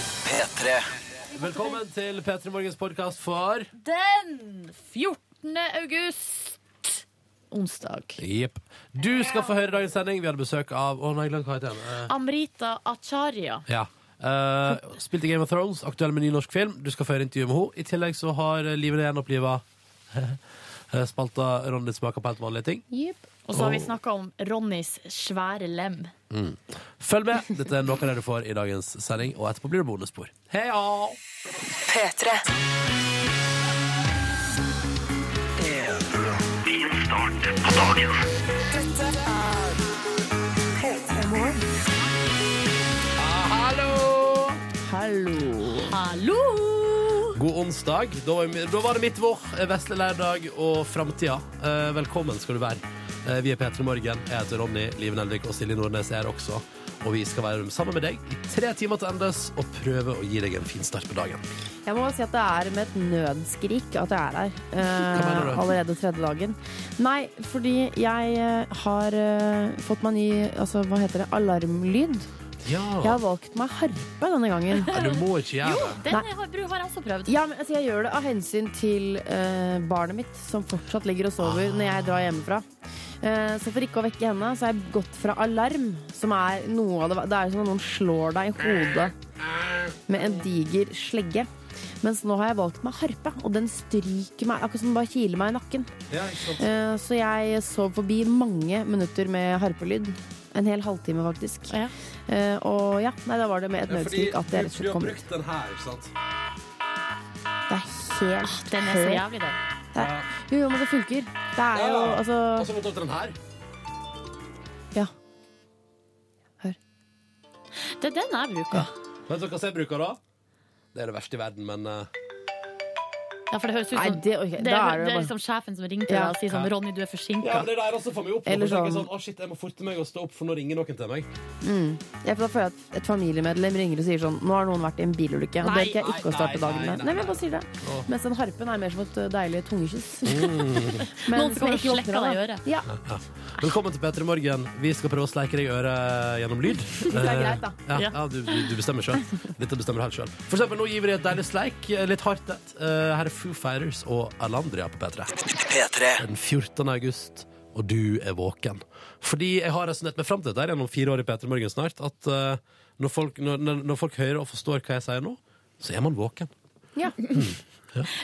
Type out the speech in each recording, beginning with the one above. P3. Velkommen til P3 Morgens podkast for Den 14. august. Onsdag. Jepp. Du skal få høre dagens sending. Vi hadde besøk av Å, nei, glem hva heter den. Amrita Acharya. Eh, ja. Eh, spilte Game of Thrones, aktuell med ny norsk film. Du skal få høre intervju med henne. I tillegg så har eh, Livet gjenoppliva eh, spalta Ronny smaker på helt vanlige ting. Og så har vi snakka om Ronnys svære lem. Følg med. Dette er noe av det du får i dagens sending, og etterpå blir det bonusspor. Heia! P3. Ah, Hallo! God onsdag. Da var, da var det mitt vår, eh, vesle lærdag og framtida. Eh, velkommen skal du være. Eh, vi er P3 Morgen. Jeg heter Ronny. Liv Nelvik og Silje Nordnes er her også. Og vi skal være sammen med deg i tre timer til endes og prøve å gi deg en fin start på dagen. Jeg må si at det er med et nødskrik at jeg er her. eh, mener du? allerede tredje dagen. Nei, fordi jeg eh, har eh, fått meg ny altså, hva heter det, alarmlyd. Jeg Ja. har valgt meg harpe denne gangen. Du må ikke gjøre det. Den har, har jeg også prøvd. Ja, men altså, Jeg gjør det av hensyn til eh, barnet mitt, som fortsatt ligger og sover når jeg drar hjemmefra. Eh, så for ikke å vekke henne, så har jeg gått fra alarm, som er noe av det Det er som om noen slår deg i hodet med en diger slegge. Mens nå har jeg valgt meg harpe, og den stryker meg, akkurat som den bare kiler meg i nakken. Ja, ikke sant? Eh, så jeg sov forbi mange minutter med harpelyd. En hel halvtime, faktisk. Ja. Eh, og ja, nei, da var det med et nødskrik at jeg rett og slett kom ut. den her, ikke sant? Det er helt Ah, Den er så jævlig, den. Jo, jo, men det funker. Det er jo altså så måtte du ta den her. Ja. Det er den jeg bruker. Vet dere hva jeg bruker da? Det er det verste i verden, men eh, Ja, for det høres ut Nei, som det orker det jeg er, Da er det det er bare liksom sjefen som ringer til Ja. deg og sier sånn 'Ronny, du er forsinka'. Ja, men det der også får meg opp. Eller Eller sånn. sånn- sånn, å shit, jeg må forte meg å stå opp, for nå ringer noen til meg. Jeg får da føle at et familiemedlem ringer og sier sånn Nå har noen vært i en bilulykke. Og det Nei, orker jeg nei, ikke å starte nei, dagen nei, med. nei, Nei, men jeg bare sier det. Åh. Mm. Mens den harpen er mer som et uh, deilig tungekyss. Noen som kommer jeg og ikke våkner slekker deg i av, da. øret. Ja, Velkommen til P3 Morgen. Vi skal prøve å sleike deg i øret gjennom lyd. Eh, det er greit, da. Ja, ja du, du du bestemmer sjøl. Dette bestemmer du helt sjøl. For eksempel, nå gir vi deg et deilig sleik. Litt hardt et. Eh, Her er Foo Fighters og Alandria på P3. P3. Den 14. august, og du er våken. Fordi jeg har resonnert meg fram til dette her gjennom fire år i P3 Morgen snart, at eh, når folk, når, når når folk hører og forstår hva jeg sier nå, så er man våken. Ja.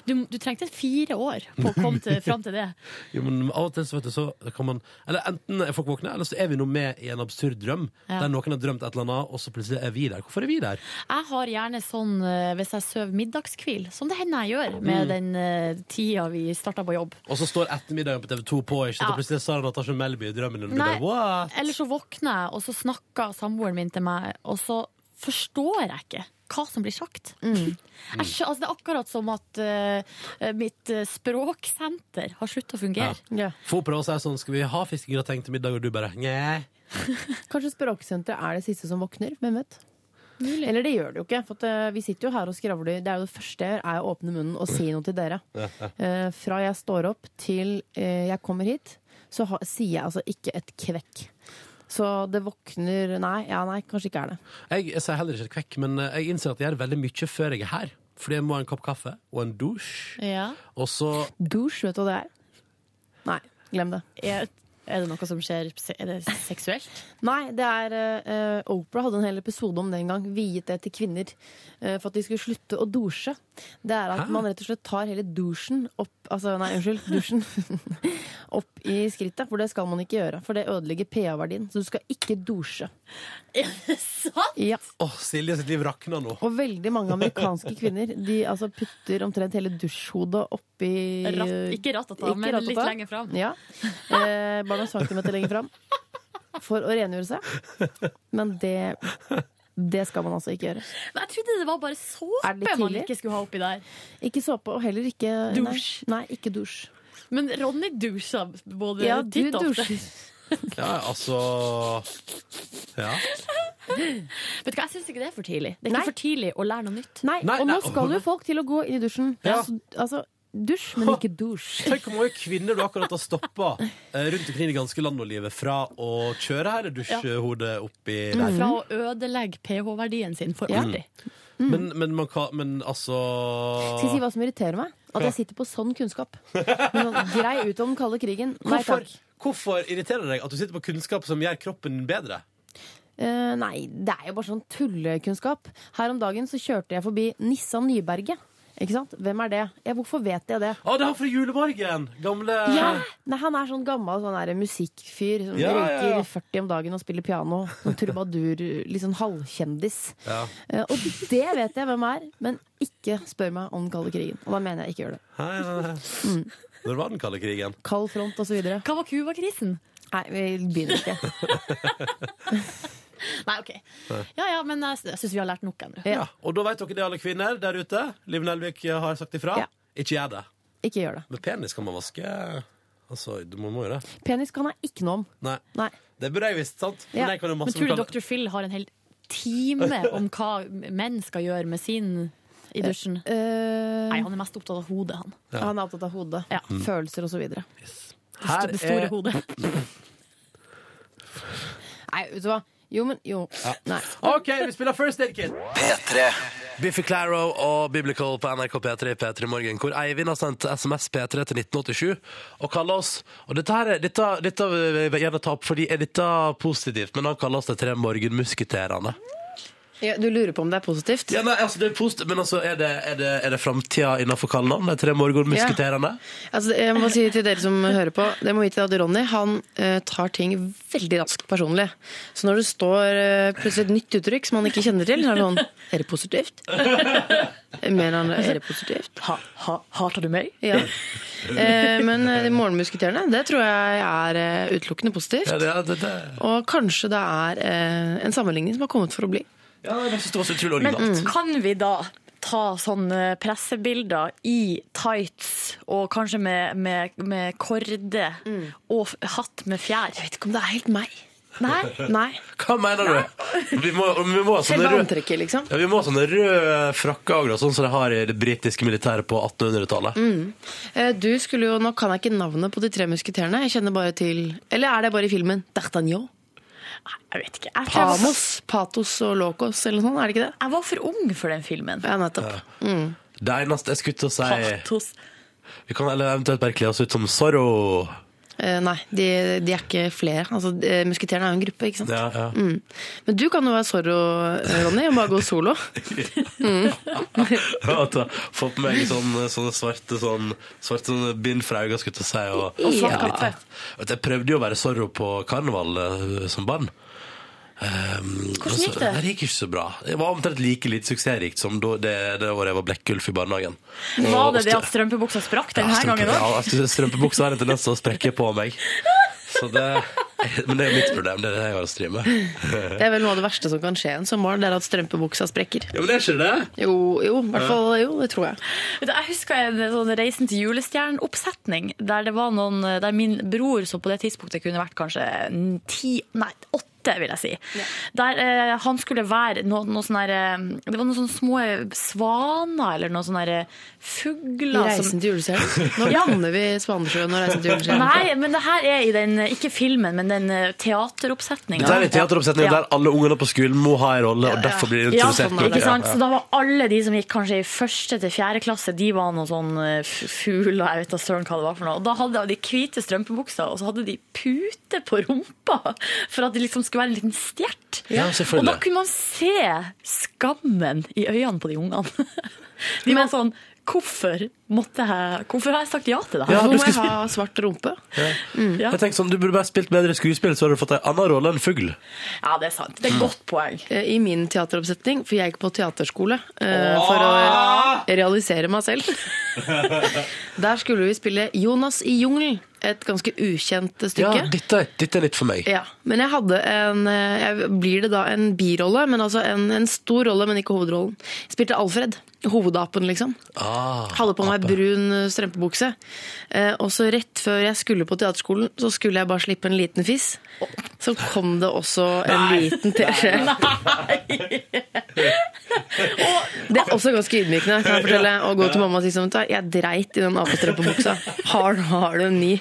Du, du trengte fire år på å komme til, fram til det. Jo, men av og til så, vet du, så kan man Eller enten er folk våkne, eller så er vi nå med i en absurd drøm. Ja. Der noen har drømt et eller annet, og så plutselig er vi der. Hvorfor er vi der? Jeg har gjerne sånn eh, hvis jeg sover middagskvil, som det hender jeg gjør Mm. med den eh, tida vi starta på jobb. Og så står ettermiddagen på TV2 på, ikke sant? Ja. og plutselig er Sara Natasha Melby i drømmen din. Og du Nei. bare, what? Eller så våkner jeg, og så snakker samboeren min til meg, og så forstår jeg ikke hva som blir sagt. Jeg skjø- altså, det er akkurat som at eh, mitt eh, språksenter har slutta å fungere. ja. For hun prøver å si sånn, skal vi ha fiskegrateng til middag, og du bare Njæ. Kanskje språksenteret er det siste som våkner. Hvem vet? Eller det gjør det jo ikke. For at, eh, vi sitter jo her og skravler. Det er jo det første jeg gjør, er å åpne munnen og si noe til dere. Eh, fra jeg står opp til eh, jeg kommer hit, så ha, sier jeg altså ikke et kvekk. Så det våkner Nei, ja, nei, kanskje ikke er det. Jeg, jeg sier heller ikke et kvekk, men eh, jeg innser at jeg gjør veldig mye før jeg er her. Fordi jeg må ha en kopp kaffe og en dusj. Ja. Og så Douche, vet du hva det er? Nei, glem det. Er, er det noe som skjer se- Er det seksuelt? Nei, det er eh, Oprah hadde en hel episode om det en gang, viet det til kvinner. eh, for at de skulle slutte å dusje. Det er at Hæ? man rett og slett tar hele dusjen opp Altså, nei, unnskyld. Dusjen opp i skrittet. For det skal man ikke gjøre. For det ødelegger pH-verdien. Så du skal ikke dusje. Er det sant? Ja. Åh, Silje sitt liv rakna nå. Og veldig mange amerikanske kvinner De altså putter omtrent hele dusjhodet oppi Ratt, ikke ratata, Ikke men litt ratata. lenger fram. Ja. Eh, bare noen centimeter lenger fram. For å rengjøre seg. Men det det skal man altså ikke gjøre. Men jeg trodde det var bare Er det litt såpe man tidlig? ikke skulle ha oppi der. Ikke såpe, og heller ikke Dusj. Nei, nei ikke dusj. Men Ronny dusjer både Ja, du titt og ofte. dusjer. Ja, altså Ja. Vet du hva, Jeg syns ikke det er for tidlig. Det er Nei. ikke for tidlig å lære noe nytt. Nei, Nei, og nei, nå skal jo folk til å gå inn i dusjen. Ja. Altså, altså, dusj, men ikke dusj. Tenk hvor mange kvinner du akkurat har stoppa rundt omkring i det ganske land og livet fra å kjøre her dusjhodet oppi Mm. der. Fra å ødelegge pH-verdien sin for Ja. alltid. Men, men man kan Men altså Skal jeg Mm. si hva som irriterer meg? At jeg sitter på sånn kunnskap. Men sånn, Grei ut om den kalde krigen. Nei hvorfor, takk. hvorfor irriterer det deg at du sitter på kunnskap som gjør kroppen din bedre? Eh, nei, det er jo bare sånn tullekunnskap. Her om dagen så kjørte jeg forbi Nissan Nyberget. Ikke sant? Hvem er det? Ja, hvorfor vet jeg det? Å, det er han fra Juleborgen! Gamle Nei, han er sånn gammel sånn der, musikkfyr som Ja, ja, røyker ja. 40 om dagen og spiller piano. Sånn trubadur, litt sånn halvkjendis. Ja. Eh, og det vet jeg hvem er, men ikke spør meg om den kalde krigen. Og da mener jeg ikke gjør det. Hei, hei, hei. Mm. Når var den kalde krigen? Kald front og så videre. Hva var Cuba-krisen? Nei, vi begynner ikke. Nei, OK. Ja ja, men jeg, jeg syns vi har lært nok ennå. Ja, Og da vet dere det, alle kvinner der ute. Liv Nelvik har sagt ifra. Ja. Ikke gjør det. ikke gjør det. Men penis kan man vaske. Altså, du må, må jo det. Penis kan jeg ikke noe om. Nei. Nei. Det burde jeg visst, sant? Ja. jeg kan jo Men masse tror du lokale- Dr. Phil har en hel time om hva menn skal gjøre med sin i dusjen? Eh, Nei, han er mest opptatt av hodet, han. Han er opptatt av hodet, Ja. følelser og så videre. Her Det store er- hodet. Nei, vet du hva? Jo, men jo. Nei. OK, vi spiller First Aid Kit. Biffy Claro og Biblical på NRK P3 i P3 Morgen, hvor Eivind har sendt SMS P3 til 1987 og kaller oss Og dette her er- dette, dette vil jeg gjerne ta opp, fordi er dette positivt, men han kaller oss de tre morgenmusketerene. Ja, du lurer på om det er positivt? Ja, nei, altså, det er positivt, men altså, er det, er det, er det framtida innafor kallenavn? De tre morgenmusketerene? Altså, jeg må si til dere som hører på, det må vite at Ronny han eh, tar ting veldig raskt personlig. Så når det står eh, plutselig et nytt uttrykk som han ikke kjenner til, så er det sånn Er det positivt? Mer enn er det positivt? hater du meg? Ja. Eh, men eh, de morgenmusketerene, det tror jeg er eh, utelukkende Ja, positivt. det, ja, det, det. Og kanskje det er eh, en sammenligning som har kommet for å bli. ja jeg synes det var så utrolig Men Mm. originalt. kan vi da ta sånne pressebilder i tights og kanskje med, med, med korde og f- hatt med fjær? Jeg vet ikke om det er helt meg. Nei? Nei. Hva mener du? Vi må, vi må ha sånne Selve røde antrekket, liksom. Ja, Vi må ha sånne røde frakker også, da, sånn som de har i det britiske militæret på 1800-tallet. Mm. Eh, Du skulle jo, Nå kan jeg ikke navnet på de tre musketerene. Jeg kjenner bare til Eller er det bare i filmen? D'Artagnan? Jeg vet ikke. Jeg, tror jeg, var, Pamos, Patos og Locos eller noe sånt, er det ikke det? jeg var for ung for den filmen. Ja, nettopp. Det eneste jeg skulle til å si Patos. Vi kan eller eventuelt bare kle oss ut som Zorro. Eh, nei, de, de er ikke flere. Altså, eh, Musketerene er jo en gruppe, ikke sant. Ja, ja. Mm. Men du kan jo være Zorro, eh, Ronny, og bare gå solo. At jeg Få på meg sånne, sånne svarte sånn, svarte sånne bind fra øynene, skulle jeg til å si. Og, Og svart Ja. kappe. Vet du, Jeg prøvde jo å være Zorro på karneval eh, som barn. Hvordan gikk det? Det gikk ikke så bra. Det var omtrent like lite suksessrikt som da- det, det året jeg var Blekkulf i barnehagen. Var Og- det det at strømpebuksa sprakk Ja, denne strømpe- gangen òg? Ja, altså, strømpebuksa har en tendens til å sprekke på meg. Så det, men det er jo mitt problem. Det er det jeg har å stri med. Det er vel noe av det verste som kan skje en sommer, det er at strømpebuksa sprekker. Ja, men det er ikke det. Jo, jo, i hvert fall jo, det tror jeg. Vet du, Jeg husker en sånn Reisen til julestjernen-oppsetning. Der, det var noen- eh, der min bror, som på det tidspunktet kunne vært kanskje n- ti, nei, åtte, vil jeg si Der eh, han skulle være noe, noe sånn der eh, Det var noen sånne små svaner eller noen sånne der, eh, I fugler som Reisen til julestjernen. Nå blander vi Svanesjøen og Reisen til julestjernen. Nei, men det her er i den, eh, ikke filmen, men den eh, teateroppsetningen. Dette er en teateroppsetning Ja. der alle ungene på skolen må ha en rolle, og derfor blir de Ja, introdusert. sånn med ikke det. sant? Så da var alle de som gikk kanskje i første til fjerde klasse, de var noen sånn eh, f- fugler, jeg vet da søren hva det var for noe. Og da hadde de hvite strømpebukser, og så hadde de pute på rumpa for at det liksom skulle være en liten stjert. Ja, Og da selvfølgelig. kunne man se skammen i øynene på de ungene. De var sånn Hvorfor, måtte jeg, hvorfor har jeg sagt ja til det her? Ja, Hvor du må skal jeg ha svart rumpe? Ja. Jeg tenker sånn, Du burde bare spilt bedre skuespill, så hadde du fått en annen rolle enn fugl. Ja, det er sant. Det er et godt poeng. Eh, I min teateroppsetning, for jeg gikk på teaterskole eh, for å realisere meg selv. Der skulle vi spille Jonas i jungelen, et ganske ukjent Ja, stykke. dette, dette er nytt for meg. Ja, men jeg hadde en eh, jeg, Blir det da en birolle? Men altså en, en stor rolle, men ikke hovedrollen. Jeg spilte Alfred. Hovedapen, liksom. Ah, Hadde på meg ape. brun eh, strømpebukse. Eh, og så rett før jeg skulle på teaterskolen, så skulle jeg bare slippe en liten fiss. Så kom det også en liten teskje. Nei! Det også ganske ydmykende, kan jeg fortelle. Å gå til mamma og si sånn «Vet du hva, Jeg dreit i den apestrømpebuksa. Har, har du en ny?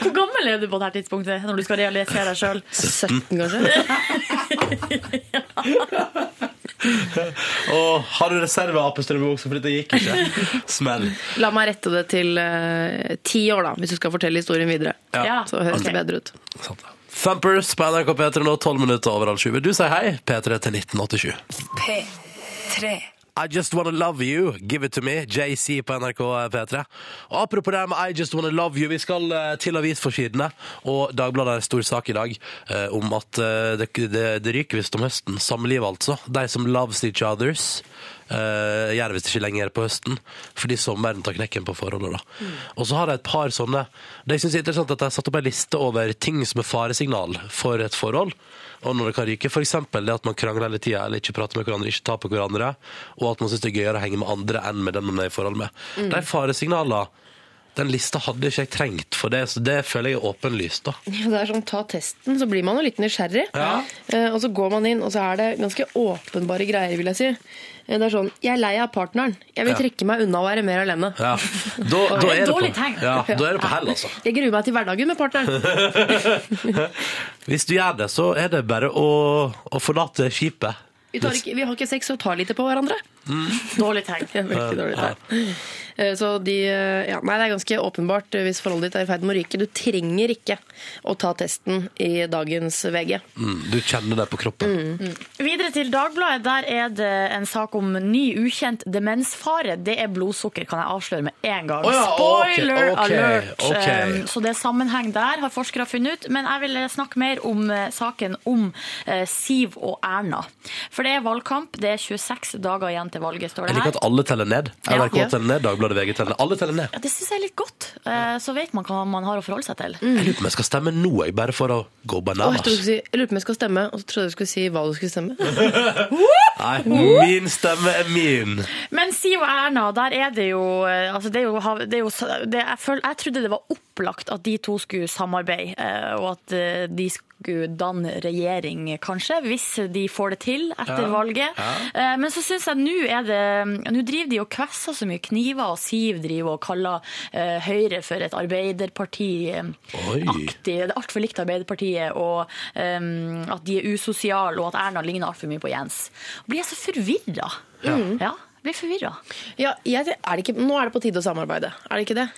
Hvor gammel er du på dette tidspunktet, når du skal realisere deg sjøl? 17, kanskje? Og har du reserve apestrømpebukse, for dette gikk ikke. Smell. La meg rette det til eh, ti år, da, hvis du skal fortelle historien videre. Ja. Så høres det bedre ut. Sant det. Sånn. Thumpers på NRK P3 nå, 12 minutter over halv sju. Vil du si hei? P3 til 1987. P3 I Just Wanna Love You, Give It To Me, JC på NRK P3. Og apropos det her med I Just Wanna Love You, vi skal eh, til avisforsidene. Og Dagbladet har en stor sak i dag eh, om at eh, det, det, det ryker visst om høsten. Samliv, altså. De som loves each others. eh, gjør det visst ikke lenger på høsten, fordi sommeren tar knekken på forholdet. Da. Og så har de et par sånne Det jeg synes er interessant at De har satt opp en liste over ting som er faresignal for et forhold og når det kan ryke. For eksempel det at man krangler hele tida, eller ikke prater med hverandre, ikke tar på hverandre, og at man syns det er gøyere å henge med andre enn med den man er i forhold med. Mm. De faresignalene, den lista hadde ikke jeg trengt for det, så det føler jeg er åpenlyst, da. Ja, Det er sånn, Ta testen, så blir man jo litt nysgjerrig. Ja. Eh, og så går man inn, og så er det ganske åpenbare greier, vil jeg si. Eh, det er sånn Jeg er lei av partneren. Jeg vil Ja. trekke meg unna og være mer alene. Ja. Da, da, er det på, Dårlig tegn. ja, da er det på hell, altså. Jeg gruer meg til hverdagen med partneren. Hvis du gjør det, så er det bare å, å forlate skipet. Vi, tar ikke, vi har ikke sex og tar lite på hverandre. Dårlig tegn. Det er veldig dårlig Ja. tegn. Eh, Så de, eh, ja, nei, det er ganske åpenbart eh, hvis forholdet ditt er i ferd med å ryke. Du trenger ikke å ta testen i dagens VG. Mm, du kjenner det på kroppen. Mm, Videre til Dagbladet. Der er det en sak om ny ukjent demensfare. Det er blodsukker, kan jeg avsløre med en gang. Å ja, ok, Spoiler ok, alert! ok. Um, Så det er sammenheng der, har forskere funnet ut. Men jeg vil snakke mer om eh, saken om eh, Siv og Erna. For det er valgkamp. Det er 26 dager igjen til valget, står Jeg det liker her. at alle teller ned. NRK Ja. teller ned, Dagbladet VG teller ned. Alle teller ned. Ja, det syns jeg er litt godt. Eh, Så vet man hva man har å forholde seg til. Jeg lurer på om jeg skal stemme nå, jeg, bare for å gå Og jeg, trodde du bananas. skulle si, jeg lurte på om jeg skal stemme, og så trodde jeg du skulle si hva du skulle stemme. Nei, min stemme er min. Men Siv og Erna, der er det jo, eh, altså det er jo, hav- det er jo det, jeg, føl, jeg trodde det var opplagt at de to skulle samarbeide, eh, og at eh, de skulle danne regjering, kanskje, hvis de får det til etter valget. Eh, Men så syns jeg nå er det Nå driver de og kvesser så mye kniver, og Siv driver og kaller eh, Høyre for et Oi. eh, Arbeiderparti-aktig. Det er altfor likt Arbeiderpartiet, og eh, at de er usosiale, og at Erna ligner altfor mye på Jens. Blir jeg så forvirra? Ja, blir forvirra. Ja, jeg, er det ikke, nå er det på tide å samarbeide. Er det ikke det?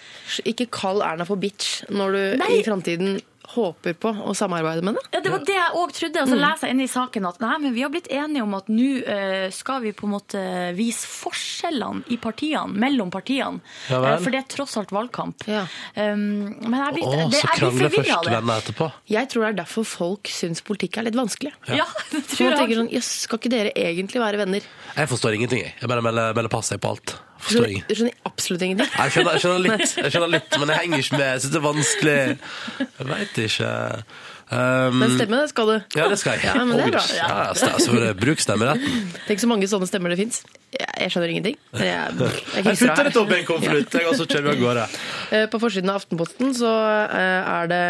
Ikke kall Erna for bitch når du Nei. i framtiden håper på å samarbeide med henne. Ja, det var det jeg òg trodde. Og så leser jeg inn i saken at nei, men vi har blitt enige om at nå eh, skal vi på en måte vise forskjellene i partiene, mellom partiene. Ja vel. Eh, for det er tross alt valgkamp. Ja. Um, men jeg blir, Å, så det, jeg blir krangler forvirra først av det. venner etterpå. Jeg tror det er derfor folk syns politikk er litt vanskelig. Ja, det Så man tror tenker jeg. sånn, jøss, Skal ikke dere egentlig være venner? Jeg forstår ingenting, jeg. Jeg bare melder, melder pass jeg på alt. Forstår Skjønner, ingen. skjønner sånn, absolutt ingenting. Jeg skjønner, jeg skjønner litt, jeg skjønner litt, men jeg henger ikke med. Jeg synes det er vanskelig. Jeg veit ikke. Um, Men stemme, det skal du. ja, det skal jeg. Ja, men det er bra. Oi, Ja, sta- så det- Bruk stemmeretten. Tenk så mange sånne stemmer det fins. Jeg, jeg skjønner ingenting. Men jeg, jeg Jeg hilser flytter deg. litt opp i en konvolutt, jeg, og så kjører vi av gårde. Eh, På forsiden av Aftenposten så eh, er det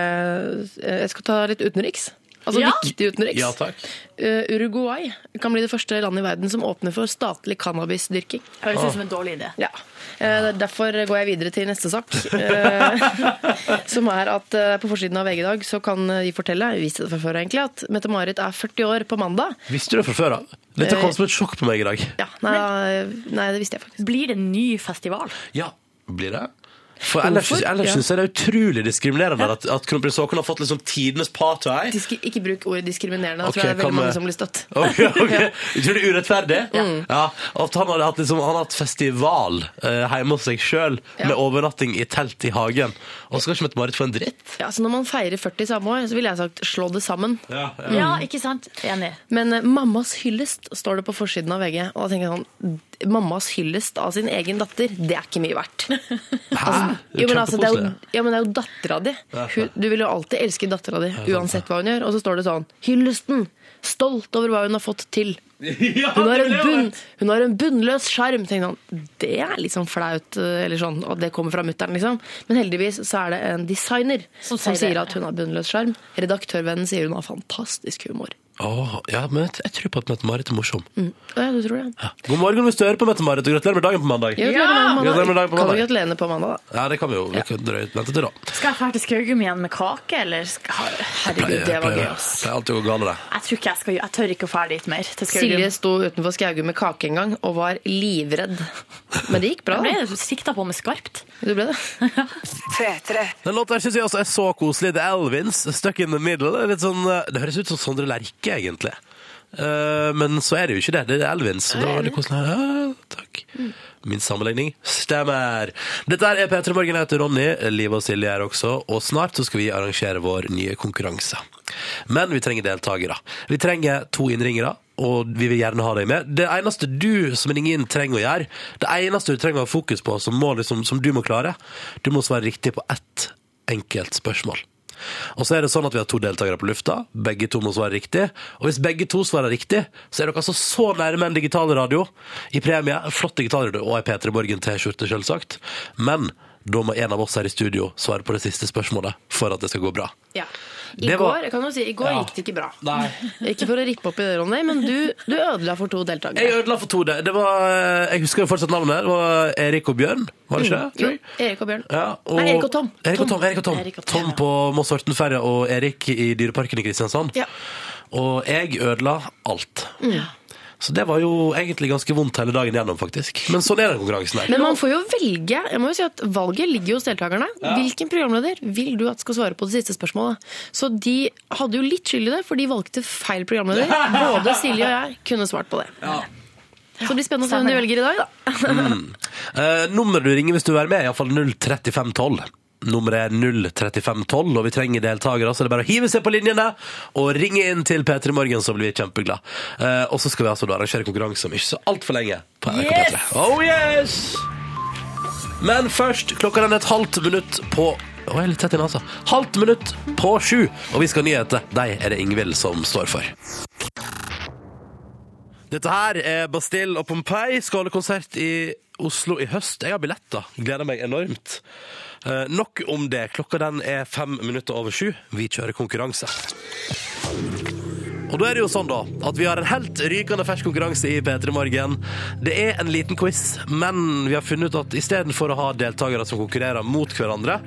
eh, Jeg skal ta litt utenriks. Altså Ja. viktig utenriks. Ja takk. Eh, Uruguay kan bli det første landet i verden som åpner for statlig cannabisdyrking. sånn, Høres ut som en dårlig idé. Ja. Eh, det er Derfor går jeg videre til neste sak. eh, som er at eh, på forsiden av VG i dag så kan eh, de fortelle viste det fra før egentlig, at Mette-Marit er 40 år på mandag. Visste du det fra før av? Eh, Dette kom som et sjokk på meg i dag. Ja, nei, nei, det visste jeg faktisk. Blir det en ny festival? Ja, blir det? For ellers, Hvorfor? ellers Ja. synes jeg det er utrolig diskriminerende at, at kronprins Haakon har fått liksom tidenes party. Diski, ikke bruk ordet diskriminerende. Da Ok, tror jeg det er kan veldig vi- mange som blir støtt. Ok, ok. Du tror det er urettferdig? Ja. At han hadde hatt, liksom, han hadde hatt festival eh, hjemme hos seg sjøl, med overnatting i telt i hagen. Og så skal ikke Mette-Marit få en dritt? Ja, så Når man feirer 40 samme år, så ville jeg sagt slå det sammen. Ja, Ja, ikke sant? Enig. Men eh, mammas hyllest står det på forsiden av VG. Og da tenker jeg sånn, d- Mammas hyllest av sin egen datter, det er ikke mye verdt. Hæ? Jo, men, altså, det er jo, Kjempekoselig. ja, men det er jo dattera di. Hun, du vil jo alltid elske dattera di, uansett hva hun gjør. Og så står det sånn Hyllesten! Stolt over hva hun har fått til. Hun har en, bunn, hun har en bunnløs sjarm. Tenkte han, Det er litt sånn flaut, eh, eller sånn, at det kommer fra mutter'n, liksom. Men heldigvis så er det en designer Som som, sier det. sier at hun har bunnløs sjarm. Redaktørvennen sier hun har fantastisk humor. Åh, ja, men jeg, jeg tror på at Mette-Marit er morsom. Ja, du tror det. Ja. God morgen hvis du hører på Mette-Marit, og gratulerer med dagen på mandag. Ja! Gratulerer Gratulerer med med dagen på mandag. Kan mandag. vi gratulere på mandag, da? Ja, det kan vi jo. Vi kan drøye vente til da. Skal jeg dra til Skaugum igjen med kake, eller? Skal... Herregud, det var gøy, ass. Pleier alltid å gå galt, det. Jeg tror ikke jeg skal Jeg tør ikke å dra dit mer. Til Silje Skaugum. sto utenfor Skaugum med kake en gang og var livredd. Men det gikk bra. Jeg da. ble sikta på med skarpt. Du ble det. P3. Den låta synes jeg også er så koselig. The Elvins, Stuck in the Middle. Det er Litt sånn, eh, det høres ut som Sondre Lerche, egentlig. Eh, men så er det jo ikke det. Det er Elvins. Så det var veldig koselig. Ja, takk. Min sammenligning stemmer. Dette er P3 Morgen. Jeg heter Ronny. Liv og Silje er også. Og snart så skal vi arrangere vår nye konkurranse. Men vi trenger deltakere. Vi trenger to innringere. Og vi vil gjerne ha deg med. Det eneste du som ringer inn trenger å gjøre, det eneste du trenger å ha fokus på, som, må liksom, som du må klare, du må svare riktig på ett enkelt spørsmål. Og så er det sånn at vi har to deltakere på lufta. Begge to må svare riktig. Og hvis begge to svarer riktig, så er dere altså så nærme en digital radio i premie. En flott digital radio og ei P3 Borgen-T-skjorte, selvsagt. Men da må en av oss her i studio svare på det siste spørsmålet for at det skal gå bra. Ja. I Det var- går, jeg kan jo si, i går Ja. gikk det ikke bra. Nei. Ikke for å rippe opp i det, Ronny, men du, du ødela for to Jeg deltakere. ødela for to. Det Det var, eh, jeg husker jo fortsatt navnet. Det var Erik og Bjørn, var det ikke? det, tror Mm, Jo, jeg? Erik og Bjørn. Ja, og Nei, Erik og Tom. Erik og Tom, Erik og Tom. Erik og Tom, Tom ja. på Moss Hortenferja og Erik i Dyreparken i Kristiansand. Ja. Mm. Og jeg ødela alt. Så det var jo egentlig ganske vondt hele dagen gjennom, faktisk. Men sånn er den konkurransen her. Men man får jo velge. Jeg må jo si at Valget ligger jo hos deltakerne. Hvilken programleder vil du at skal svare på det siste spørsmålet? Så de hadde jo litt skyld i det, for de valgte feil programleder. Både Silje og jeg kunne svart på det. Så det blir spennende å se hvem de velger i dag, da. Eh, nummeret du ringer hvis du vil være med, er iallfall 03512. Nummeret er 03512, og vi trenger deltakere, så det er bare å hive seg på linjene og ringe inn til P3 Morgen, så blir vi kjempeglad. Eh, og så skal vi altså da arrangere konkurranse om ikke så altfor lenge på NRK P3. Oh yes! Men først, klokka den er et halvt minutt på Å, jeg er litt tett inn, altså. Halvt minutt på sju, og vi skal ha nyheter. De er det Ingvild som står for. Dette her er Bastille og Pompeii skal holde konsert i Oslo i høst. Jeg har billetter. Gleder meg enormt. Eh, nok om det. Klokka den er fem minutter over sju. Vi kjører konkurranse. Og da er det jo sånn da, at vi har en helt rykende fersk konkurranse i P3 Morgen. Det er en liten quiz, men vi har funnet ut at istedenfor å ha deltakere som konkurrerer mot hverandre,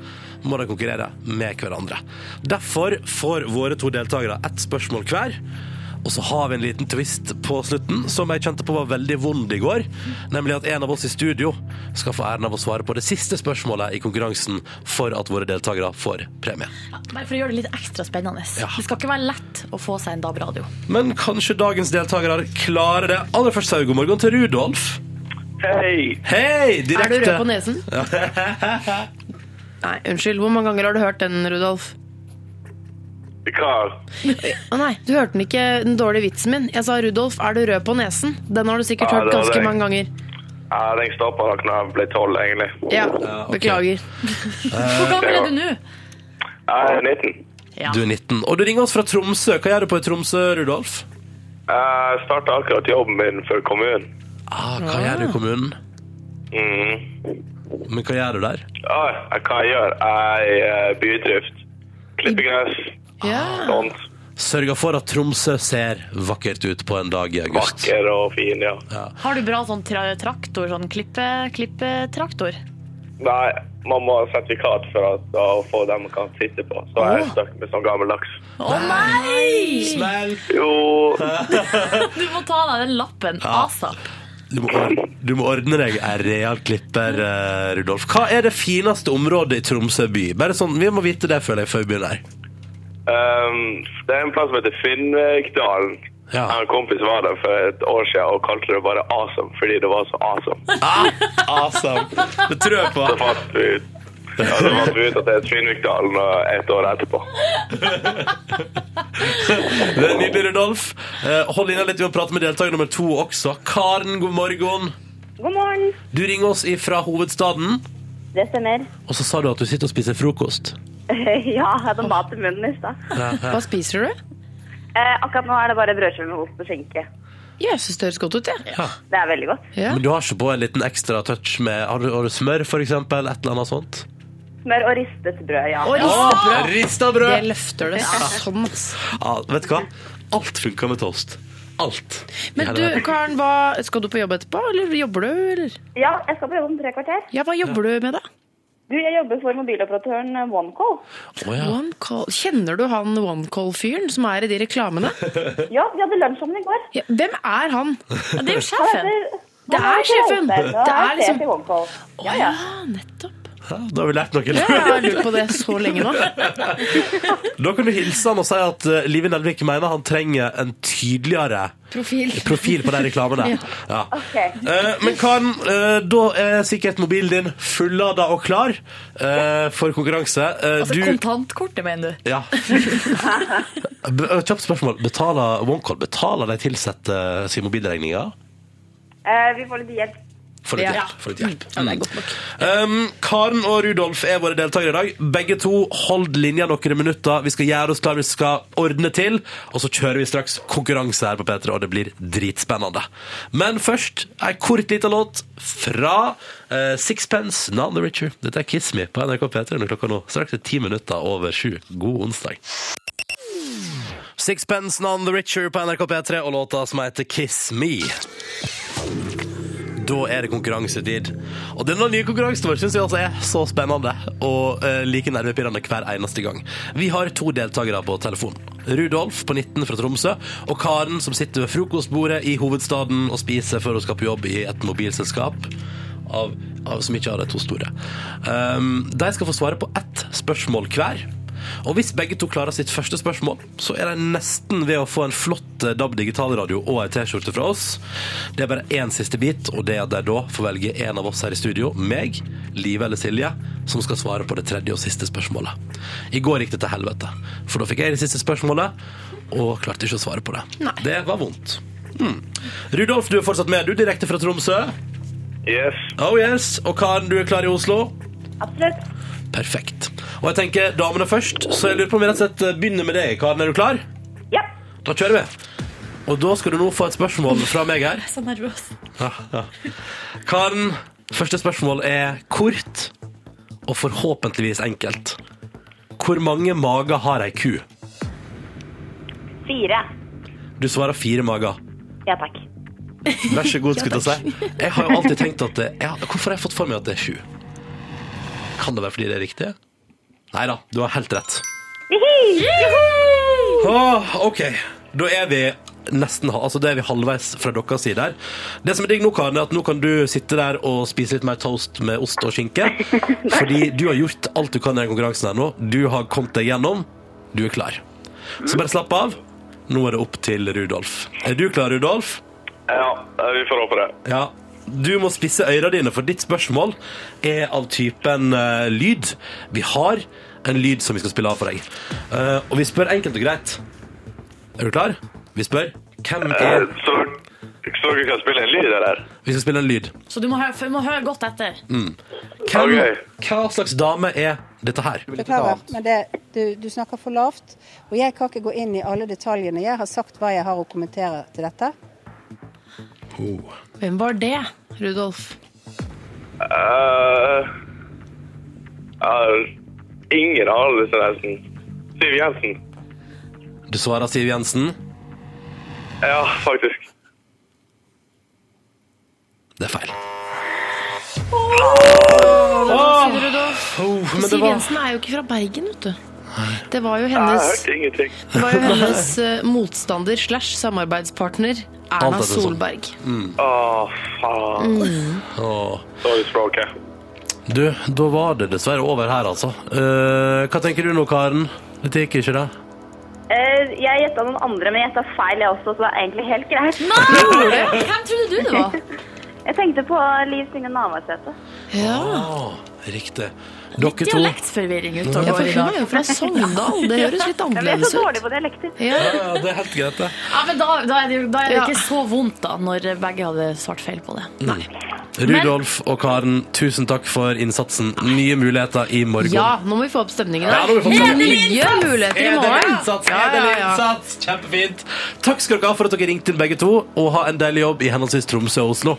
må de konkurrere med hverandre. Derfor får våre to deltakere ett spørsmål hver. Og så har vi en liten twist på slutten, som jeg kjente på var veldig vond i går. Nemlig at en av oss i studio skal få æren av å svare på det siste spørsmålet i konkurransen for at våre deltakere får premie. Bare for å gjøre det litt ekstra spennende. Ja. Eh, Det skal ikke være lett å få seg en DAB-radio. Men kanskje dagens deltakere klarer det. Aller først sier vi god morgen til Rudolf. Hei! Hei! Er du Direkte. rød på nesen? Nei, unnskyld. Hvor mange ganger har du hørt den, Rudolf? Hva? Å nei, du hørte den ikke, den dårlige vitsen min. Jeg sa 'Rudolf, er du rød på nesen?' Den har du sikkert Ja, hørt det hadde ganske jeg. mange ganger. Ja, den stoppa nok når jeg ble tolv, egentlig. Ja, ok. beklager. Hvor gammel er du nå? Ja, jeg er 19. Du er 19. Og du ringer oss fra Tromsø. Hva gjør du på i Tromsø, Rudolf? Jeg starta akkurat jobben min for kommunen. Ah, hva gjør du i kommunen? Mhm. Men hva gjør du der? Ja, jeg- hva jeg gjør? Jeg er i bydrift. Klipper gress. Sånt. Sørger for at Tromsø ser vakkert ut på en dag i august. Vakker og fin, ja. Har du bra sånn tra traktor, sånn klippe, klippetraktor? Nei, man må ha sertifikat for at, å få dem man kan sitte på. Så jeg er stuck med sånn gammeldags. Å nei! Smell! Jo, Du må ta deg den lappen asap. Du må, or- du må ordne deg en real klipper, eh, Rudolf. Hva er det fineste området i Tromsø by? Bare sånn, Vi må vite det føler jeg, før vi begynner. ehm, det er en plass som heter Finnvikdalen. Ja. Jeg og en kompis var der for et år siden og kalte det bare awesome fordi det var så awesome. Ah, Awesome! Det tror jeg Så på. fant vi ut, ja, så fant vi ut at det er Finnvikdalen eh, et år etterpå. Det er Nydelig, Rudolf. Eh, Hold inna litt, vi må prate med deltaker nummer to også. Karen, god morgen. God morgen. Du ringer oss fra hovedstaden, Det stemmer. og så sa du at du sitter og spiser frokost. ja, jeg hadde mat i munnen i stad. Hva spiser du? Eh, akkurat nå er det bare brødskive med ost og skinke. Ja, Jeg syns det høres godt ut, jeg. Det er veldig godt. Ja. Men du har ikke på en liten ekstra touch med Har du, har du smør, for eksempel? Et eller annet sånt? Smør og ristet brød, ja. Og Å, Rista brød! Jeg løfter det sånn, ass. Ja, vet du hva? Alt funka med toast. Alt. Men du, Karen, hva, skal du på jobb etterpå, eller jobber du, eller? Ja, jeg skal på jobb om tre kvarter. Ja, hva jobber du med, da? Du, jeg jobber for mobiloperatøren eh, OneCall. Å, ja. OneCall. Kjenner du han OneCall-fyren som er i de reklamene? Ja, vi hadde lunsj sammen i går. Ja, hvem er han? Ja, det er jo Han sjefen. heter- Det han er heter sjefen. Rolstein, og Det han er liksom- sjef i OneCall. Ja, ja. Ah, nettopp. Ja, Da har vi lært noe. Ja, jeg har lurt på det så lenge nå. Da kan du hilse han og si at eh, Live Nelvik mener han trenger en tydeligere Profil. profil på de reklamene. Ja. Ok. Eh, men Karen, eh, da er sikkert mobilen din fullada og klar eh, for konkurranse. Eh, Altså, du kontantkortet, mener du? ja. Be- eh, Kjapt spørsmål. Betaler OneCall betaler de ansatte sin mobilregninger? Eh, Vi får litt hjelp. For litt hjelp. For litt hjelp. Um, Karen og Rudolf er våre deltakere i dag. Begge to, hold linja noen minutter. Vi skal gjøre oss klar, vi skal ordne til. Og så kjører vi straks konkurranse her på P3, og det blir dritspennende. Men først ei kort lita låt fra eh, Sixpence, Nan the Richer. Dette er Kiss Me på NRK P3 når klokka nå straks er ti minutter over sju. God onsdag. Sixpence, Nan the Richer på NRK P3 og låta som heter Kiss Me. Da er det konkurransetid. Og denne nye konkurransen vår syns jeg altså er så spennende og eh, like nervepirrende hver eneste gang. Vi har to deltakere på telefon. Rudolf på 19 fra Tromsø og Karen som sitter ved frokostbordet i hovedstaden og spiser før hun skal på jobb i et mobilselskap. Av, av som ikke har de to store. Um, de skal få svare på ett spørsmål hver. Og hvis begge to klarer sitt første spørsmål, så er de nesten ved å få en flott eh, DAB digitalradio og ei T-skjorte fra oss. Det er bare én siste bit, og det er at de da får velge en av oss her i studio, meg, Live eller Silje, som skal svare på det tredje og siste spørsmålet. I går gikk det til helvete, for da fikk jeg det siste spørsmålet, og klarte ikke å svare på det. Det var vondt. Hmm. Rudolf, du er fortsatt med. Du er direkte fra Tromsø. Yes. Oh yes. Og Karen, du er klar i Oslo? Absolutt. Perfekt. Og jeg tenker damene først, så jeg lurer på om vi rett og slett eh, begynner med deg, Karen. Er du klar? Ja. Da kjører vi. Og da skal du nå få et spørsmål fra meg her. Så nervøs. Karen, første spørsmål er kort og forhåpentligvis enkelt. Hvor mange mager har ei ku? Fire. Du svarer fire mager. Ja takk. Vær så god, skulle jeg til å si. Jeg har jo alltid tenkt at det, jeg, har- Hvorfor har jeg fått for meg at det er sju? Kan det være fordi det er riktig? Nei da, du har helt rett. Åh, ok, da er vi nesten ha- altså det er vi halvveis fra deres side her. Det som er digg nå, Karen, er at nå kan du sitte der og spise litt mer toast med ost og skinke. Fordi du har gjort alt du kan i den konkurransen her nå. Du har kommet deg gjennom. Du er klar. Så bare slapp av. Nå er det opp til Rudolf. Er du klar, Rudolf? Ja, eh, vi får håpe det. Ja, du må spisse øyra dine, for ditt spørsmål er av typen eh, lyd. Vi har en lyd som vi skal spille av for deg. Eh, og vi spør enkelt og greit. Er du klar? Vi spør hvem Eh, er Så så dere kan spille en lyd, eller? Vi skal spille en lyd. Så du må høre, for- må høre godt etter. Hvem, Ok. Hva slags dame er dette her? Beklager, men det, du, du snakker for lavt. Og jeg kan ikke gå inn i alle detaljene. Jeg har sagt hva jeg har å kommentere til dette. Oh. Hvem var det, Rudolf? Eh, eh, ingen anelse, nesten. Siv Jensen. Du svarer Siv Jensen. Ja, faktisk. Det er feil. Oh, Siv Jensen er jo ikke fra Bergen, vet du. Det var jo Jeg hennes, hørte ingenting. det var jo hennes eh, motstander slash samarbeidspartner Alt Erna er det sånn. Solberg. Å, faen. Åh. Sorry, språket. Du, da var det dessverre over her, altså. Eh, hva tenker du nå, Karen? Dette gikk ikke, det? Eh, Jeg gjetta noen andre, men jeg gjetta feil jeg også, så det er egentlig helt greit. Hvem trodde du det var? Jeg tenkte på Liv Signe Navarsete. Åh, riktig. Dere to Dialektsforvirring ute og Ja, for går i hun dag. er jo fra Sogndal. Det høres litt Jeg er annerledes så ut. dårlig på dialekter. Ja. Ja, ja, det er helt greit, det. Ja, men da, da er det, jo- da er det Ja. ikke så vondt, da, når begge hadde svart feil på det. Rudolf og Karen, tusen takk for innsatsen. Nye muligheter i morgen. ja, nå må vi få opp stemningen. Ja, her. nå må vi få opp stemningen. Nye muligheter i Edel morgen. innsats, Ja, edel ja, ja. innsats. Kjempefint. Takk skal dere ha for at dere ringte inn begge to, og ha en deilig jobb i henholdsvis Tromsø og Oslo.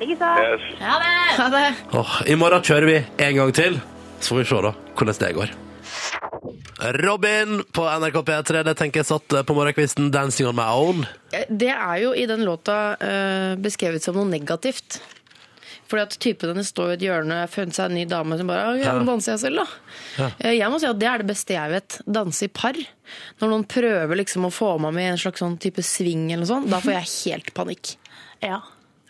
Ikke sant? Yes. Ja, det. Ja, det- Åh, I morgen kjører vi en gang til, så får vi se da hvordan det går. Robin på NRK P3. Det tenker jeg satt eh, på morgenkvisten. 'Dancing on my own'. Eh, Det er jo i den låta eh, beskrevet som noe negativt. Fordi at typen hennes står i et hjørne og har funnet seg en ny dame som bare «Å, ja, nå danser jeg selv, da. Eh, Jeg må si at det er det beste jeg vet. Danse i par. Når noen prøver liksom å få meg med i en slags sånn type sving eller noe sånt, da får jeg helt panikk. Ja.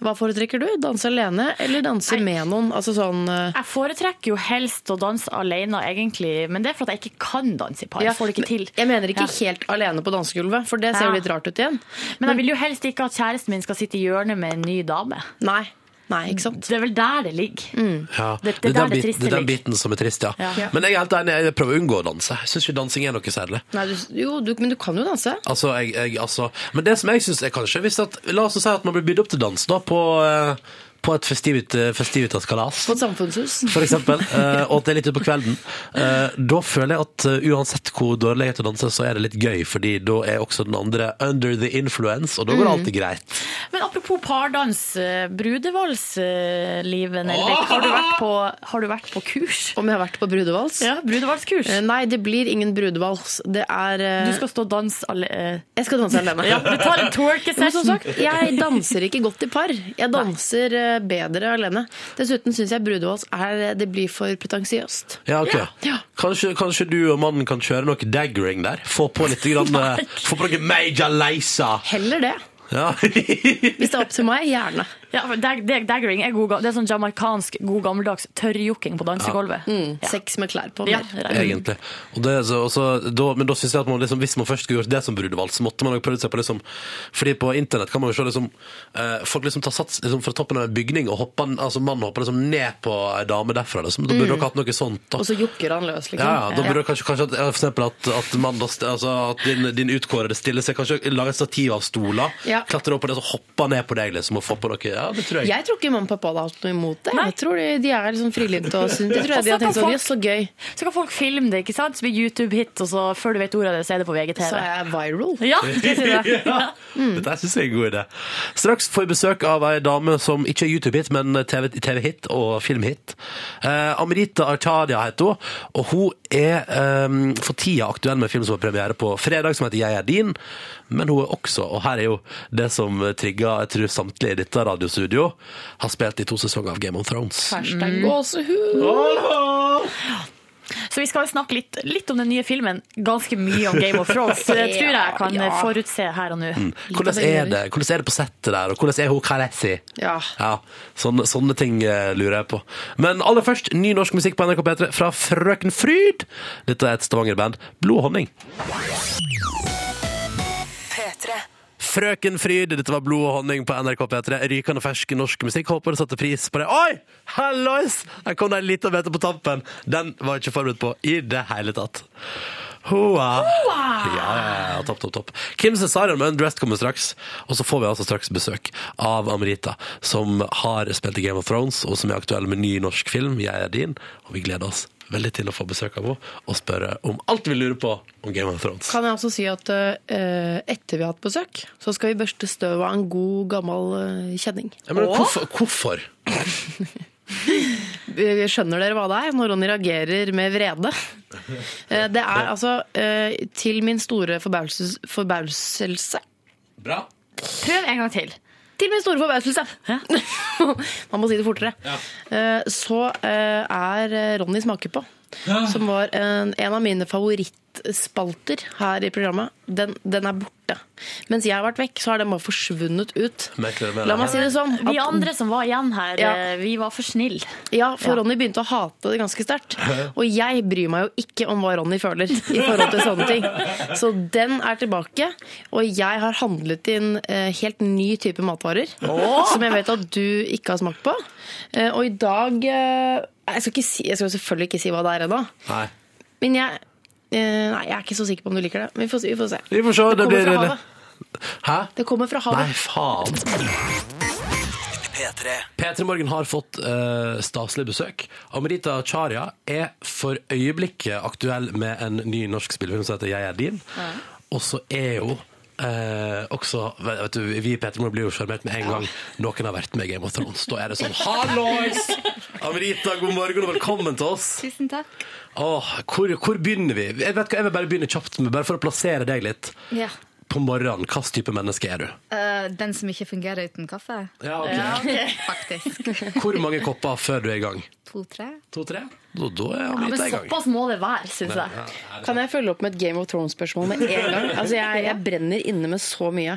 Hva foretrekker du? Danse alene eller danse med noen? Altså sånn eh, Jeg foretrekker jo helst å danse alene, egentlig, men det er for at jeg ikke kan danse i par. ja, Jeg får det ikke til. Jeg mener Ja. ikke helt alene på dansegulvet, for det ser Ja. jo litt rart ut igjen. Men jeg vil jo helst ikke at kjæresten min skal sitte i hjørnet med en ny dame. Nei. Nei, ikke sant? Det er vel der det ligger. Ja. Det, det, er der den det biten- triste det er den ligger. biten som er trist, ja. Ja. Men jeg er helt enig, jeg prøver å unngå å danse. Jeg syns ikke dansing er noe særlig. Nei, du, jo, du, men du kan jo danse. Altså, jeg, jeg, altså, men det som jeg syns er kanskje hvis at, La oss si at man blir bydd opp til dans da, på, eh, på et festivit, festivitas-kalas. På et samfunnshus. For eksempel. eh, og at det er litt utpå kvelden. Eh, da føler jeg at eh, uansett hvor dårlig jeg er til å danse, så er det litt gøy, fordi da er også den andre under the influence, og da går alltid greit. Men apropos pardans, eh, brudevals, eh, Liv Nelvik, har, du vært på, har du vært på kurs? Om jeg har vært på brudevals? Ja, brudevalskurs. Eh, Nei, det blir ingen brudevals. Det er eh, Du skal stå og danse alle... eh, Jeg skal danse alene. Ja, du tar en Men som twerkesession. sagt, jeg danser ikke godt i par. Jeg danser eh, bedre alene. Dessuten syns jeg brudevals er eh, Det blir for pretensiøst. Ja, ok. Ja. Kanskje, kanskje du og mannen kan kjøre noe daggering der? Få på litt grann, eh, Få på noe major leisa! Heller det. Ja. Hvis det er opp til meg, gjerne. Ja, for dag- dag- daggering er, god, ga- det er sånn jamaikansk, god gammeldags tørrjokking på dansegolvet. Ja. Sex med klær på. Ja, mer. egentlig. Og det, er så, og så- da, men da synes jeg at man liksom, hvis man først skulle gjort det som brudevalg, så måtte man jo prøvd seg på liksom, Fordi på internett kan man jo se liksom, eh, folk liksom tar sats liksom, fra toppen av en bygning, og hopper, altså mannen hopper liksom ned på ei dame derfra. Liksom. Da burde dere hatt noe sånt. Da. Mm. Og så jokker han løs, liksom. Ja, ja, da burde dere kanskje, kanskje at, ja, for eksempel at, at, mann da st- altså, at din, din utkårede stiller seg Kanskje lager et stativ av stoler, Ja. klatrer opp på det, så hopper ned på deg liksom, og får på noe. Ja, det tror jeg. Jeg tror ikke mamma og pappa hadde hatt noe imot det. Jeg tror de, de er liksom frilynte og syns De tror Og jeg de så har tenkt kan sånn folk- Jøss, så gøy. Så kan folk filme det, ikke sant? Så blir YouTube-hit, og så før du vet ordet av det, så er det på Så VGTV. er jeg viral. Ja, det sier jeg. ja. Dette synes jeg er en god idé. Straks får vi besøk av ei dame som ikke er YouTube-hit, men TV- TV-hit og film-hit. Eh, Amrita Artadia heter hun, og hun er eh, for tida aktuell med en film som har premiere på fredag, som heter Jeg er din. Men hun er også, og her er jo det som trigger jeg tror samtlige i dette radiostudio, har spilt i to sesonger av Game of Thrones. Hashtag gåsehud. Så vi skal jo snakke litt, litt om den nye filmen, ganske mye om Game of Thrones. Det tror jeg jeg kan Ja, ja. forutse her og nå. Hvordan er det Hvordan er det på settet der, og hvordan er hun Karessi? Ja. Ja, sånne, sånne ting eh, lurer jeg på. Men aller først, ny norsk musikk på NRK P3 fra Frøken Fryd. Dette er et Stavanger-band. Blod og honning. P3. Frøken Fryd, dette var Blod og honning på NRK P3. Rykende fersk norsk musikk. Håper du satte pris på det. Oi! Hallois! Her kom det en liten bete på tampen. Den var jeg ikke forberedt på i det hele tatt. Hoa! Ja, ja, ja, topp, topp, topp. Kim Cesarion med Undressed kommer straks. Og så får vi altså straks besøk av Amrita, som har spilt i Game of Thrones, og som er aktuell med ny norsk film, Jeg er din. Og vi gleder oss veldig til å få besøk av henne og spørre om alt vi lurer på om Game of Thrones. Kan jeg også si at eh, etter vi har hatt besøk, så skal vi børste støv av en god, gammel eh, kjenning. Ja, men hvorfor? hvorfor? Eh, Skjønner dere hva det er når Ronny reagerer med vrede? Eh, det er altså eh, til min store forbauses- forbauselse Bra. Prøv en gang til. Til min store forbauselse! Man må si det fortere. Eh, Så eh, er Ronny smaker på, som var en, en av mine favorittspalter her i programmet. Den, den er borte. Mens jeg har vært vekk, så har den bare forsvunnet ut. Merkelig med La det. meg si det sånn. Vi at- andre som var igjen her, Ja. eh, vi var for snille. Ja, for Ronny begynte å hate det ganske sterkt. Og jeg bryr meg jo ikke om hva Ronny føler i forhold til sånne ting. Så den er tilbake, og jeg har handlet inn eh, helt ny type matvarer. Som jeg vet at du ikke har smakt på. Eh, og i dag eh, jeg, skal ikke si, jeg skal selvfølgelig ikke si hva det er ennå, Nei. men jeg eh, Nei, jeg er ikke så sikker på om du liker det. Men vi får, se- vi får se. Vi får se. Det, blir Det kommer fra havet. Hæ? Det kommer fra Nei, havet. faen. P3 Morgen har fått eh, staselig besøk. Amrita Charia er for øyeblikket aktuell med en ny norsk spillefilm som heter Jeg er din. Og så er hun Eh, også, vet du, vi i Peter Moore blir jo sjarmert med en gang noen har vært med i Game of Thrones. Da er det sånn Hallois! Amrita, god morgen og velkommen til oss. Tusen takk. Åh, hvor, hvor begynner vi? Jeg, vet, hva, jeg vil bare begynne kjapt med, bare for å plassere deg litt. Ja. På morgenen, hva slags type menneske er du? Eh, den som ikke fungerer uten kaffe? Ja, ok. Faktisk. Hvor mange kopper før du er i gang? To-tre? To-tre? Da, da er Ja, men Amrita i gang. såpass må det være, synes jeg. Ja, Kan jeg følge opp med et Game of Thrones-spørsmål med en gang? Altså, jeg, jeg brenner inne med så mye.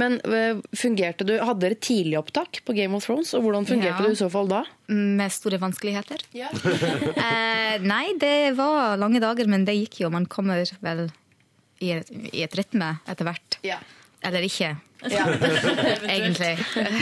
Men øh, fungerte du, Hadde dere tidlig opptak på Game of Thrones, og hvordan fungerte Ja. du i så fall da? Med store vanskeligheter? Eh, nei, det var lange dager, men det gikk jo. Man kommer vel i et, i et rytme etter hvert. Eller ikke. Ja. Egentlig.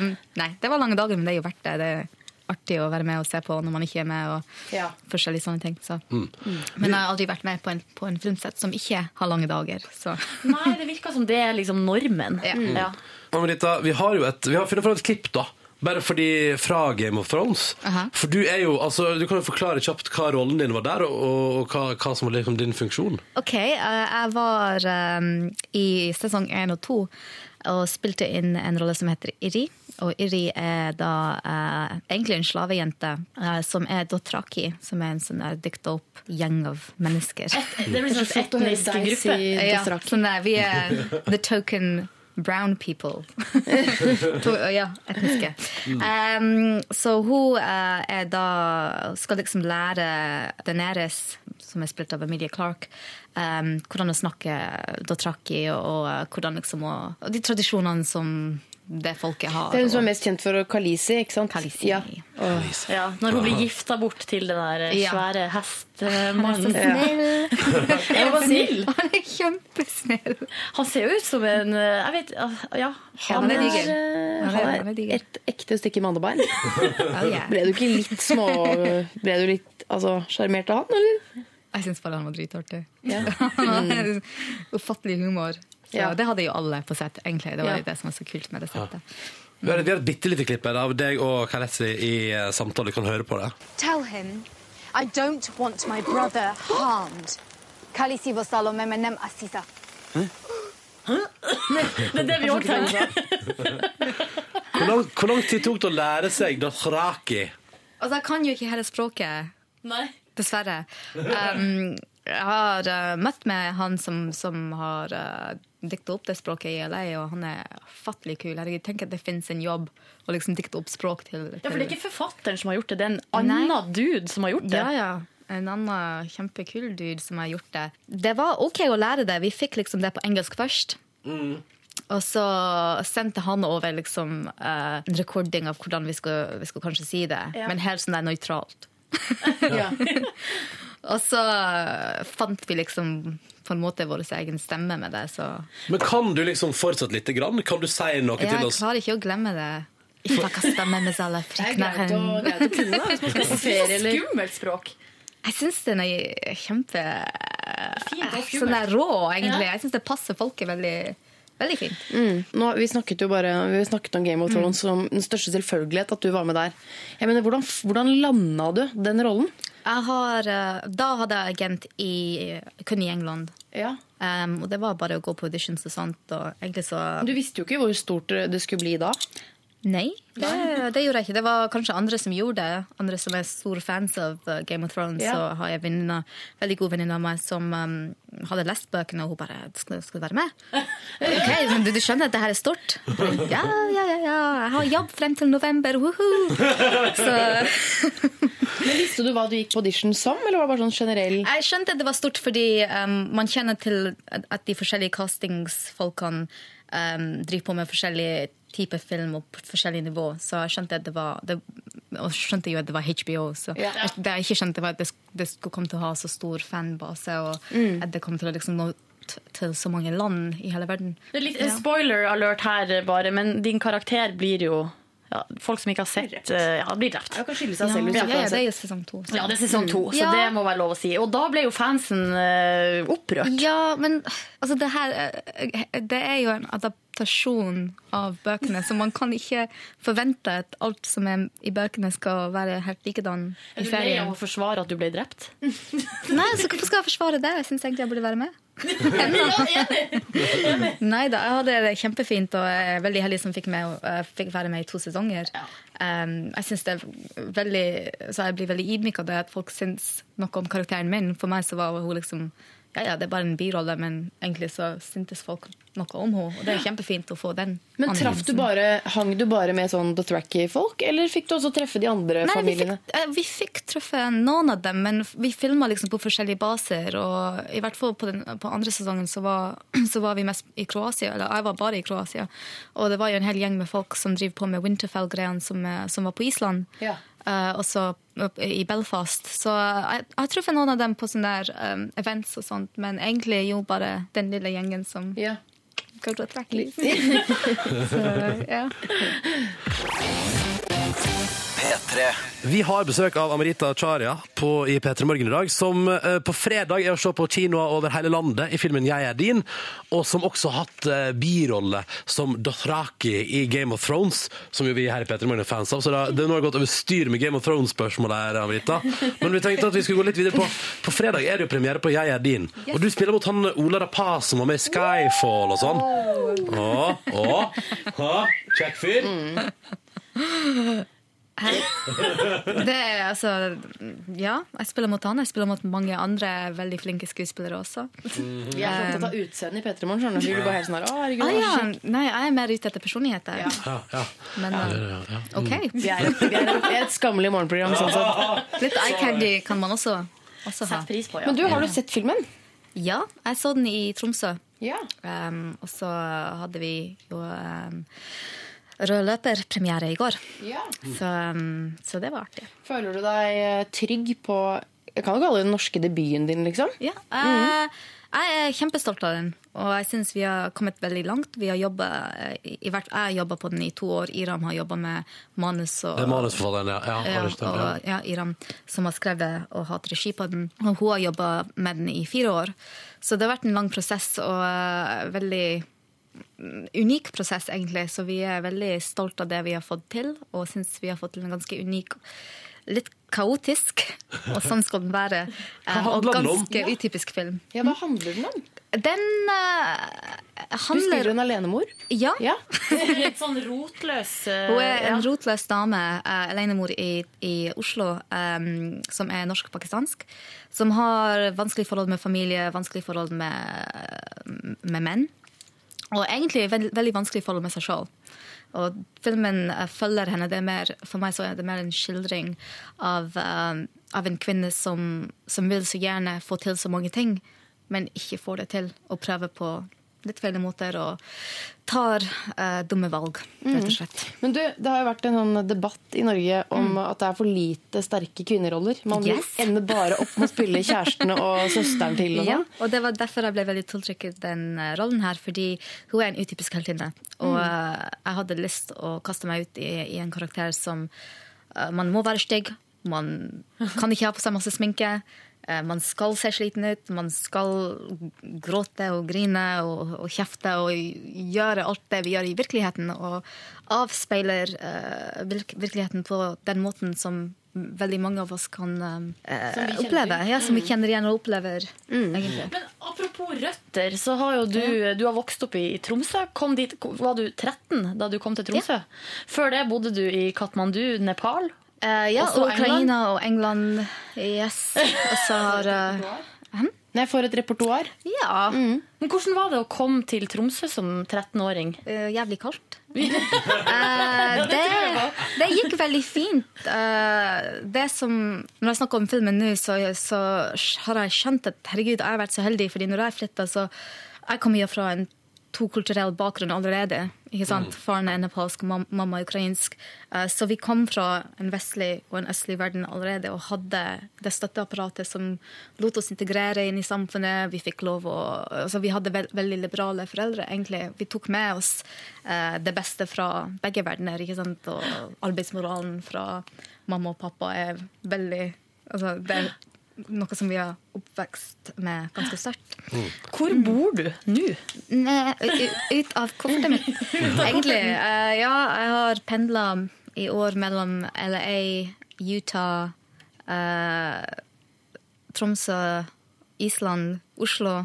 um, nei, det var lange dager, men det er jo verdt det. Det er artig å være med og se på når man ikke er med, og Ja. forskjellige sånne ting. Så. Mm. Men jeg har aldri vært med på en, på en filmsett som ikke har lange dager. Så. Nei, det virker som det er liksom normen. Ja. Amrita, vi har jo et, vi har funnet fram et klipp da. Bare fordi fra Game of Thrones. Aha. For du er jo, altså, du kan jo forklare kjapt hva rollen din var der, og, og, og hva, hva som var liksom din funksjon. Ok, eh, jeg var eh, i sesong 1 og 2 og spilte inn en rolle som heter Iri. Og Iri er da eh, egentlig en slavejente eh, som er Dothraki, som er en sånn der dikta opp gjeng av mennesker. det blir sånn Flott å høre etnisk deg gruppe. si ja, Dothraki. sånn der, vi er the token brown people. to, ja, etniske. Mm. Um, så hun eh, er da skal liksom lære Daenerys, som er spilt av Emilie Clark, um, hvordan å snakke dothraki og, og eh, hvordan liksom å, og de tradisjonene som det folket har. Det er hun som og- er mest kjent for Kalisi, ikke sant? Ja. Ja, når hun blir gifta bort til den der eh, Ja. svære hestemannen. Han er Ja, han var snill. Han er kjempesnill. Han ser jo ut som en eh, Jeg vet ah, Ja. Han er, digger. øh, Han er- han han er er diger. et ekte stykke mannebein. yeah. Ble du ikke litt små øh, Ble du litt altså, sjarmert av han, eller? Jeg syns bare han var dritartig. Han har Mm. Ufattelig humor. Så Ja. Det hadde jo alle på sett, egentlig. Det var Ja. jo det som var så kult med det settet. Vi har et, vi har et bitte lite klipp her av deg og Kalesi i eh, samtale, du kan høre på det. Tell him I don't want my Eh, brother harmed. Kalisi vasalo memenem asisa. Det er det vi òg tenker. Hvor lang, hvor lang tid tok det å lære seg Dothraki? Altså, jeg kan jo ikke hele språket, Nei. dessverre. Um, jeg har eh, møtt med han som, som har uh, dikta opp det språket i LA, og han er fattelig kul. Herregud, tenk at det fins en jobb å liksom dikte opp språk til, til Ja, for det er ikke forfatteren som har gjort det, det er en annen dude som har gjort det. Ja, ja. En annen kjempekul dude som har gjort det. Det var OK å lære det. Vi fikk liksom det på engelsk først. Mm. Og så sendte han over liksom, eh, en recording av hvordan vi skulle, vi skulle kanskje si det. Ja. Men helt sånn det er nøytralt. og så eh, fant vi liksom på en måte vår egen stemme med det. Så Men kan du liksom fortsatt lite grann? Kan du si noe jeg til oss? klarer ikke å glemme det. Ifaka stemme med sala greit å- greit å kunne, hvis man skal på ferie, eller- Skummelt språk. Jeg syns den er kjempe Fint og skummelt. Sånn der rå, egentlig. Ja. Jeg syns det passer folket veldig, veldig fint. Mm. Nå, vi snakket jo bare Vi snakket om Game of Thrones som den største selvfølgelighet at du var med der. Jeg mener, Hvordan, hvordan landa du den rollen? Jeg har, eh, da hadde jeg agent i, kun i England. Um, og det var bare å gå på auditions og sånt. Og egentlig så Du visste jo ikke hvor stort det skulle bli da. Nei, det, det gjorde jeg ikke. Det var kanskje andre som gjorde det. Andre som er store fans av eh, Game of Thrones. Ja. Så har jeg en veldig god venninne av meg som um, hadde lest bøkene, og hun bare skal, skal du være med? Ok, men du, du skjønner at det her er stort? Ja, ja, ja, ja. Jeg har jobb frem til november. Woohoo! Så Men Visste du hva du gikk på audition som, eller var det bare sånn generell jeg skjønte at det var stort fordi um, man kjenner til at at de forskjellige castingsfolkene um, driver på med forskjellige typer film og på forskjellige nivå. Så jeg skjønte at det var det, Og skjønte jo at det var HBO. Så Ja. jeg, det jeg ikke skjønte, var at det, sk- det skulle komme til å ha så stor fanbase, og Mm. at det kom til å liksom nå t til så mange land i hele verden. Det er litt Ja. spoiler alert her, eh, bare, men din karakter blir jo ja, Folk som ikke har sett eh, Ja, blir drept. Ja, kan skille seg selv ut, så Ja, ja, det er jo altså. sesong to, så- Ja, det er sesong to, Mm. så Ja. det må være lov å si. Og da ble jo fansen eh, opprørt. Ja, men altså, det her eh, Det er jo en adaptasjon av bøkene, så man kan ikke forvente at alt som er i bøkene, skal være helt likedan Er i du lei av serien. å forsvare at du ble drept? Nei, så hvorfor skal jeg forsvare det? Jeg syns egentlig jeg burde være med. Nei da, jeg hadde det kjempefint og jeg er veldig heldig som fikk, med, eh, fikk være med i to sesonger. Um, jeg synes det er veldig, så jeg blir veldig ydmyk av det at folk syns noe om karakteren min. For meg så var hun liksom ja, ja, det er bare en birolle, men egentlig så syntes folk noe om henne. Og det er kjempefint å få den Men traff du anerkjennelsen. bare, Hang du bare med sånn Dothraki-folk, eller fikk du også treffe de andre Nei, vi familiene? fikk, eh, vi fikk treffe noen av dem, men vi filma liksom på forskjellige baser. Og i hvert fall på den på andre sesongen så var, så var vi mest i Kroatia, eller jeg var bare i Kroatia. Og det var jo en hel gjeng med folk som driver på med Winterfell-greiene, som, eh, som var på Island. Ja. Eh, også opp- i Belfast. Så jeg, jeg har truffet noen av dem på sånne der eh, events og sånt, men egentlig jo bare den lille gjengen som ja. går og trekker. så, ja. P3. Vi har besøk av Amarita Charia på, i P3 Morgen i dag, som eh, på fredag er å se på kinoer over hele landet i filmen Jeg er din, og som også har hatt eh, birolle som Dothraki i Game of Thrones, som jo vi her i P3 Morgen er fans av. Så da, det har nå gått over styr med Game of Thrones-spørsmålet her, Amarita. Men vi tenkte at vi skulle gå litt videre på På fredag er det jo premiere på Jeg er din, og du spiller mot han Ola Rapaz som var med i Skyfall og sånn. Å, å, å, kjekk fyr. Hæ? Det er altså Ja, jeg spiller mot han. Jeg spiller mot mange andre veldig flinke skuespillere også. Mm. Vi er så opptatt av utseende i P3 Morgen, skjønner du. Så vi blir bare helt sånn her, å herregud, Ah, ja. hva skjer? Nei, jeg er mer ute etter personlighet. jeg. Ja, ja. Men, Ja, eh, ja, ja. OK. Vi er, vi er vi er et skammelig morgenprogram, sånn sett. Litt eye candy kan man også, også ha. ja. Men du, har du sett filmen? Ja, jeg så den i Tromsø. Ja. Um, og så hadde vi jo um, rød løper-premiere i går. Ja. Så, um, så det var artig. Føler du deg eh, trygg på Jeg kan jo kalle det den norske debuten din, liksom. Ja, eh, Jeg er kjempestolt av den, og jeg syns vi har kommet veldig langt. Vi har jobbet, eh, i- i hvert, Jeg har jobba på den i to år. Iram har jobba med manus. Og, Det er manusforfatteren, ja. ja, Ja, har du stemt, ja. Eh, og, ja, Iram, som har skrevet og hatt regi på den. Og hun har jobba med den i fire år. Så det har vært en lang prosess og eh, veldig mm, unik prosess, egentlig. Så vi er veldig stolt av det vi har fått til, og syns vi har fått til en ganske unik Litt kaotisk, og sånn skal den være. eh, Og handler den om? ganske utypisk film. Ja, Hva handler den om? Den eh, handler Du spiller en alenemor. Ja. Litt sånn rotløs. eh, Hun er en ja. rotløs dame, eh, alenemor i, i Oslo, eh, som er norsk-pakistansk. Som har vanskelig forhold med familie, vanskelig forhold med, eh, med menn. Og egentlig veld, veldig vanskelig forhold med seg sjøl. Og filmen eh, følger henne. Det er mer, for meg så er det mer en skildring av, eh, av en kvinne som, som vil så gjerne få til så mange ting, men ikke får det til. Og prøver på litt feil måter og tar eh, dumme valg, rett og slett. Men du, Det har jo vært en sånn debatt i Norge om at det er for lite sterke kvinneroller. Man Mm. Yes. ender bare opp med å spille kjærestene og søsteren til. Og Ja, sånn. og det var derfor jeg ble veldig tiltrykket den eh, rollen her, fordi hun er en utypisk heltinne. Og Mm. eh, jeg hadde lyst å kaste meg ut i, i en karakter som eh, Man må være stygg, man kan ikke ha på seg masse sminke. eh, Man skal se sliten ut, man skal gråte og grine og, og kjefte og gjøre alt det vi gjør i virkeligheten, og avspeiler eh, virk- virkeligheten på den måten som veldig mange av oss kan eh, Som vi kjenner oppleve. til. Ja, som vi Mm. kjenner igjen og opplever. egentlig. Apropos røtter, så har jo du, du har vokst opp i Tromsø. Kom dit, var du 13 da du kom til Tromsø? Før det bodde du i Katmandu, Nepal. Eh, ja, Også og Ukraina og England. Yes. Og så har eh, Nei, For et repertoar. Ja. Men hvordan var det å komme til Tromsø som 13-åring? Eh, jævlig kaldt. Eh, det, det gikk veldig fint. Eh, det som, når jeg snakker om filmen nå, så, så har jeg skjønt at herregud, jeg har vært så heldig, fordi når jeg flytta, så Jeg kommer jo fra en tokulturell bakgrunn allerede. ikke sant? Faren er nepalsk, mam mamma er ukrainsk. Eh, så vi kom fra en vestlig og en østlig verden allerede og hadde det støtteapparatet som lot oss integrere inn i samfunnet. Vi fikk lov å altså Vi hadde vel- veldig liberale foreldre, egentlig. Vi tok med oss eh, det beste fra begge verdener, ikke sant? Og arbeidsmoralen fra mamma og pappa er veldig Altså, det er noe som vi har oppvekst med ganske sterkt. Hvor bor du nå? Nei, u- ut av kortet mitt. Egentlig. eh, ja, jeg har pendla i år mellom LA, Utah, eh, Tromsø, Island, Oslo.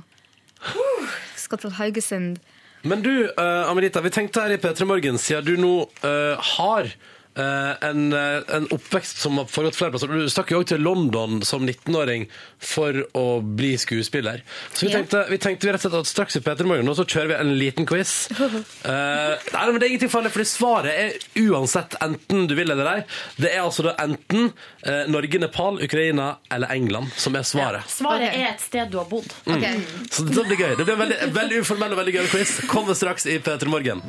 Skal til Haugesund. Men du, eh, Amelita, vi tenkte her i P3 Morgen, siden du nå eh, har eh, en, eh, en oppvekst som har foregått flere plasser. Du stakk jo også til London som 19-åring for å bli skuespiller. Så vi Ja. tenkte, vi tenkte rett og slett at straks i P3 Morgen nå så kjører vi en liten quiz. Eh, nei, men det er ingenting farlig, fordi svaret er uansett enten du vil eller ei. Det er altså da enten eh, Norge, Nepal, Ukraina eller England som er svaret. Svaret er et sted du har bodd. Mm. Så det blir gøy. Det blir en veldig, veldig uformell og veldig gøy quiz. Kommer straks i P3 Morgen.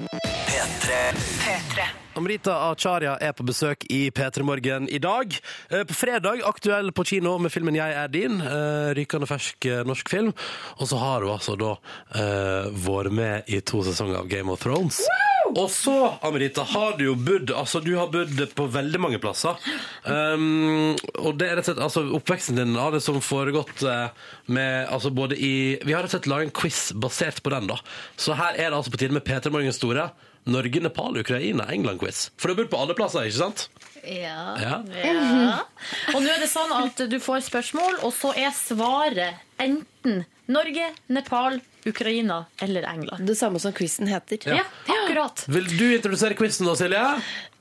Amrita Acharya er på besøk i P3 Morgen i dag. Eh, På fredag aktuell på kino med filmen 'Jeg er din'. eh, Rykende fersk eh, norsk film. Og så har hun altså da eh, vært med i to sesonger av Game of Thrones. Og så, Amrita, har du jo bodd Altså, du har bodd på veldig mange plasser. Um, og det er rett og slett Altså, oppveksten din har liksom foregått eh, med Altså, både i Vi har rett og slett laget en quiz basert på den, da. Så her er det altså på tide med P3 Morgens store Norge, Nepal, Ukraina, England-quiz. For du har bodd på alle plasser, ikke sant? Ja. Ja. Ja. Og nå er det sånn at du får spørsmål, og så er svaret enten Norge, Nepal, Ukraina eller England. Det samme som quizen heter. Ja, akkurat. Vil du introdusere quizen nå, Silje?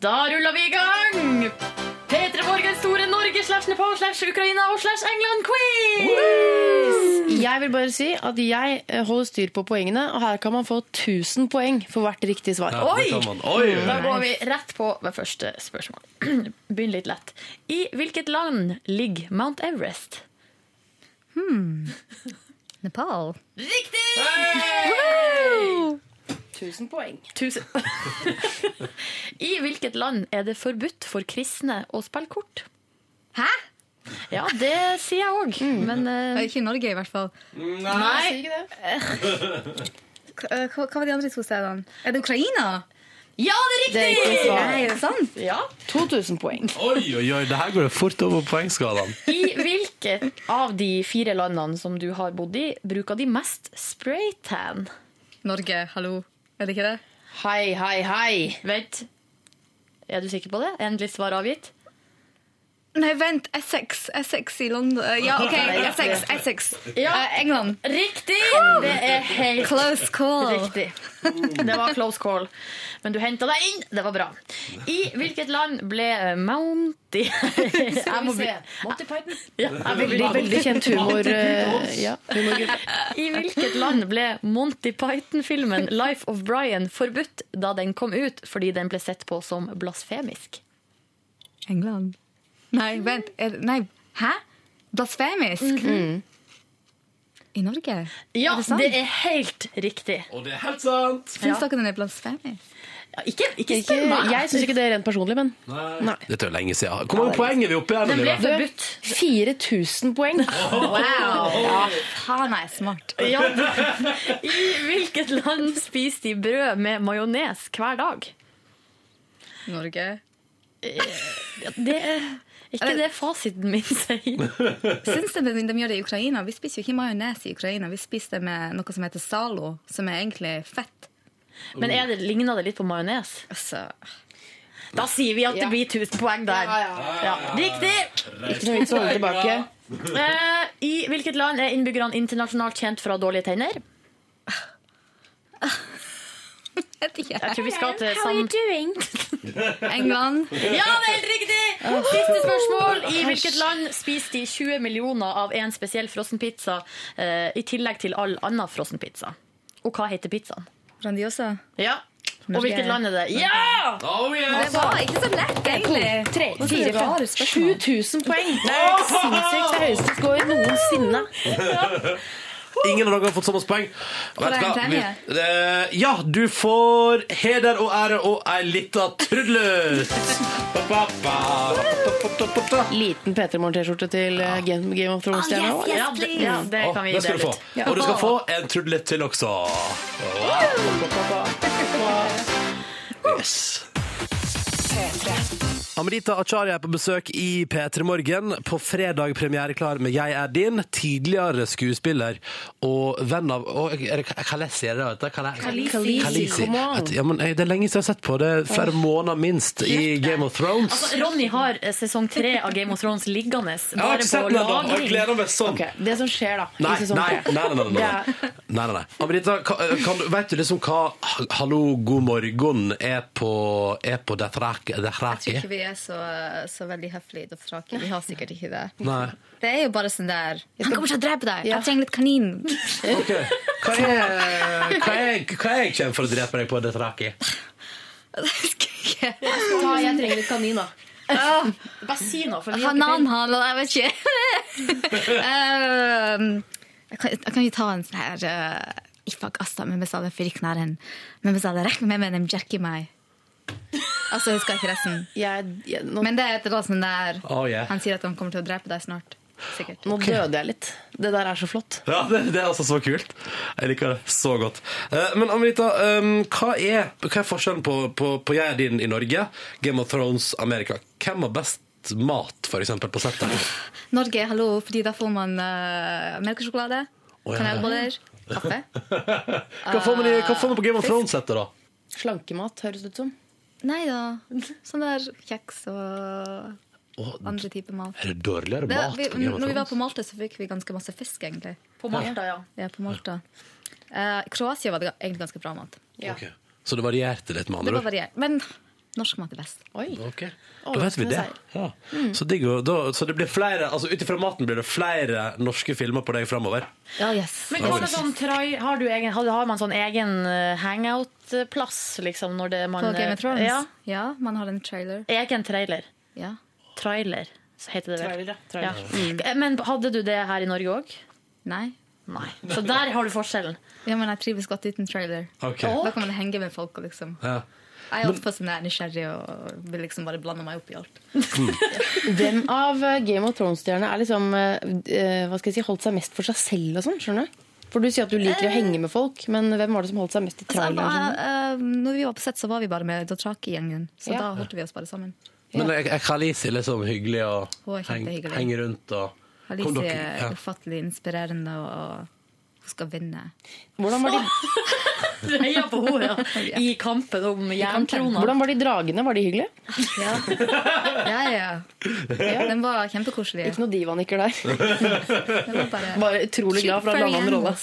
Da ruller vi i gang! P3 Morgens store Norge slash Nepal slash Ukraina og slash England-quiz! Mm. Jeg vil bare si at jeg eh, holder styr på poengene, og her kan man få 1000 poeng for hvert riktig svar. Oi! Da går vi rett på med første spørsmål. Begynn litt lett. I hvilket land ligger Mount Everest? Hmm. Nepal. Riktig! Woohoo! 1000 poeng. Tusen. I hvilket land er det forbudt for kristne å spille kort? Hæ? Ja, det sier jeg òg, men Eh, Ikke i Norge, i hvert fall. Nei. K- eh, Hva hva var de andre to stedene? Er det Ukraina? Ja, det er Det er riktig! riktig svar. Nei, er det sant? Ja. 2000 poeng. Oi, oi, oi, det her går jo fort over poengskalaen. I hvilket av de fire landene som du har bodd i, bruker de mest spraytan? Norge, hallo. Er det ikke det? Hei, hei, hei. Vent. Er du sikker på det? Endelig svar avgitt? Nei, vent. Essex. Essex i London. Eh, Ja, OK. Essex. Essex. Eh, England. Riktig! Det er helt Close call. Riktig. Det var close call. Men du henta deg inn. Det var bra. I hvilket land ble Mounty Jeg må bli- Monty Python. Ja, jeg må bli- Veldig, veldig kjent humor. eh, Ja, humorgutt. I hvilket land ble Monty Python-filmen 'Life of Brian' forbudt da den kom ut fordi den ble sett på som blasfemisk? England. Nei, vent. Er, det- nei. Hæ? Blasfemisk? Mhm. I Norge? Ja, er det det, sant? er helt riktig. Og det er helt sant. Syns Ja. dere den er blasfemisk? Ikke, ikke Ikke, spør meg. jeg syns ikke det er rent personlig, men Nei. Dette er jo lenge siden. Hvor mange poeng er vi oppe i? her nå, Live? 4000 poeng. Wow. Faen, jeg er smart. Ja. I hvilket land spiser de brød med majones hver dag? Norge. Ja, Det er ikke det fasiten min sier. Syns de, de gjør det i Ukraina? Vi spiser jo ikke majones i Ukraina. Vi spiser det med noe som heter Zalo, som er egentlig fett. Men er det, ligner det litt på majones? Da sier vi at det blir 1000 poeng der. Ja, Riktig! Ikke noe vits å holde tilbake. Eh, I hvilket land er innbyggerne internasjonalt kjent for å ha dårlige tenner? Jeg tror vi skal til How are you England. Ja, det er helt riktig! Siste spørsmål. I hvilket land spiser de 20 millioner av en spesiell frossenpizza eh, i tillegg til all annen frossenpizza? Og hva heter pizzaen? Grandiosa. Ja. Og hvilket land er det? Ja! Ah, Altså, Det var ikke så lett, egentlig. Tre, Hvorfor fire, det var fem, et spørsmål? 7000 poeng! Det er helt sinnssykt. Det er høyeste score noensinne. Ingen av dere har fått såpass poeng. Får jeg en premie? Vi- eh, ja, du får heder og ære og ei lita trudelutt. Ba, ba, ba, ba, ba. Liten P3 Morgen-T-skjorte til eh, Game Game of Ah, Thrones-stjerna. Oh, yes, yes, Ja, det- please. ja, Det kan Å, vi det skal dele du få. ut. Ja. Og du skal få en trudelutt til også. Wow. Yes. Amrita Acharya er på besøk i P3 Morgen. På fredag premiereklar med Jeg er din. Tidligere skuespiller og venn av og, er det, Hva sier det? vet du? Kale- Khaleesi. Khaleesi. Come on. Vet du, Ja, men, eh, det er lenge siden jeg har sett på. Det er flere måneder minst i Game of Thrones. Altså, Ronny har eh, sesong tre av Game of Thrones liggende. Jeg har ikke sett den ennå. Jeg gleder meg sånn. Det som skjer, da. Nei, sånn. nei, nei, nei, nei, nei. nei, nei, nei. Amrita, kan, kan, du- vet du liksom hva ha- 'Hallo, god morgen' er på, er på Dothraki? Jeg tror ikke vi er så, så veldig høflige i Dothraki. Vi har sikkert ikke det. Nei. Det er jo bare sånn der Han kommer ikke til å drepe deg! Jeg trenger litt kanin. Ok. Hva er, hva er, hva er jeg kommer for å drepe deg på Dothraki? Ta, jeg trenger litt kanin, da. Bare si noe. for vi har ikke Hanan, han, jeg vet ikke. Ehm, jeg, kan, jeg kan jo ta en sånn her eh, Ifak asta med mesala firiknaren. Med mesala rekk med menem jerky meg. Altså, jeg husker ikke resten. Men det er et eller annet sånn der Oh, yeah. Han sier at han kommer til å drepe deg snart. Sikkert. Nå døde jeg litt. Det der er så flott. Ja, det, det er altså så kult. Jeg liker det så godt. Eh, men Amrita, eh, hva, er, hva er forskjellen på, på, på jeg er din i Norge, Game of Thrones Amerika? Hvem har best mat, for eksempel, på settet? Norge, hallo, fordi da får man uh, melkesjokolade, Å, ja. kanelboller, kaffe. Hva får man, i, hva får man på Game Ah, of Thrones-settet, da? Slankemat høres det ut som. Nei da. Sånn der kjeks og Å, andre typer mat. Er det dårligere Det, mat vi, på Game of når vi var Thrones? på Malta, så fikk vi ganske masse fisk, egentlig. På Malta, ja. Ja, på Malta. Eh, Kroatia var det ga- egentlig ganske bra mat. Ok. Så det varierte litt, med Det andre var ord? variert. Men norsk mat er best. Ok. Da vet vi det. Ja. Mm. Så, digg, å- da, så det blir flere, altså ut ifra maten blir det flere norske filmer på deg framover? Ja, yes. Men hva med sånn trai, har, du egen, har, har man sånn egen eh, hangout-plass, liksom, når det man eh, På Game of Thrones? Ja. man har en trailer. Egen trailer. Ja. Trailer, så heter det vel. Trailer, ja. Trailer. Ja. Eh, Men hadde du det her i Norge òg? Nei. Nei. Så der har du forskjellen. Ja, men jeg trives godt uten trailer. Ok. Da kan man henge med folk og liksom Ja. Jeg er oppe sånn der nysgjerrig og vil liksom bare blande meg opp i alt. Hvem av eh, Game of Thrones-stjernene er liksom eh, eh, hva skal jeg si, holdt seg mest for seg selv og sånn? skjønner du? For du sier at du liker å henge med folk, men hvem var det som holdt seg mest i Så jeg traileren? var, og sånn? eh, når vi var på sett, så var vi bare med Dothraki-gjengen. Så Ja. da holdt vi oss bare sammen. Men er er Khalisi liksom hyggelig og Hun er kjempehyggelig. henger rundt og Kom Alice dere- er ja. ufattelig inspirerende, og hun skal vinne. Hvordan var de, Du heier på henne ja. i kampen om jerntrona. hvordan var de dragene? Var de hyggelige? Ja, ja. Den var kjempekoselig. Ikke noe divanikker der. bare- Bare utrolig glad for å ha landa en rolle.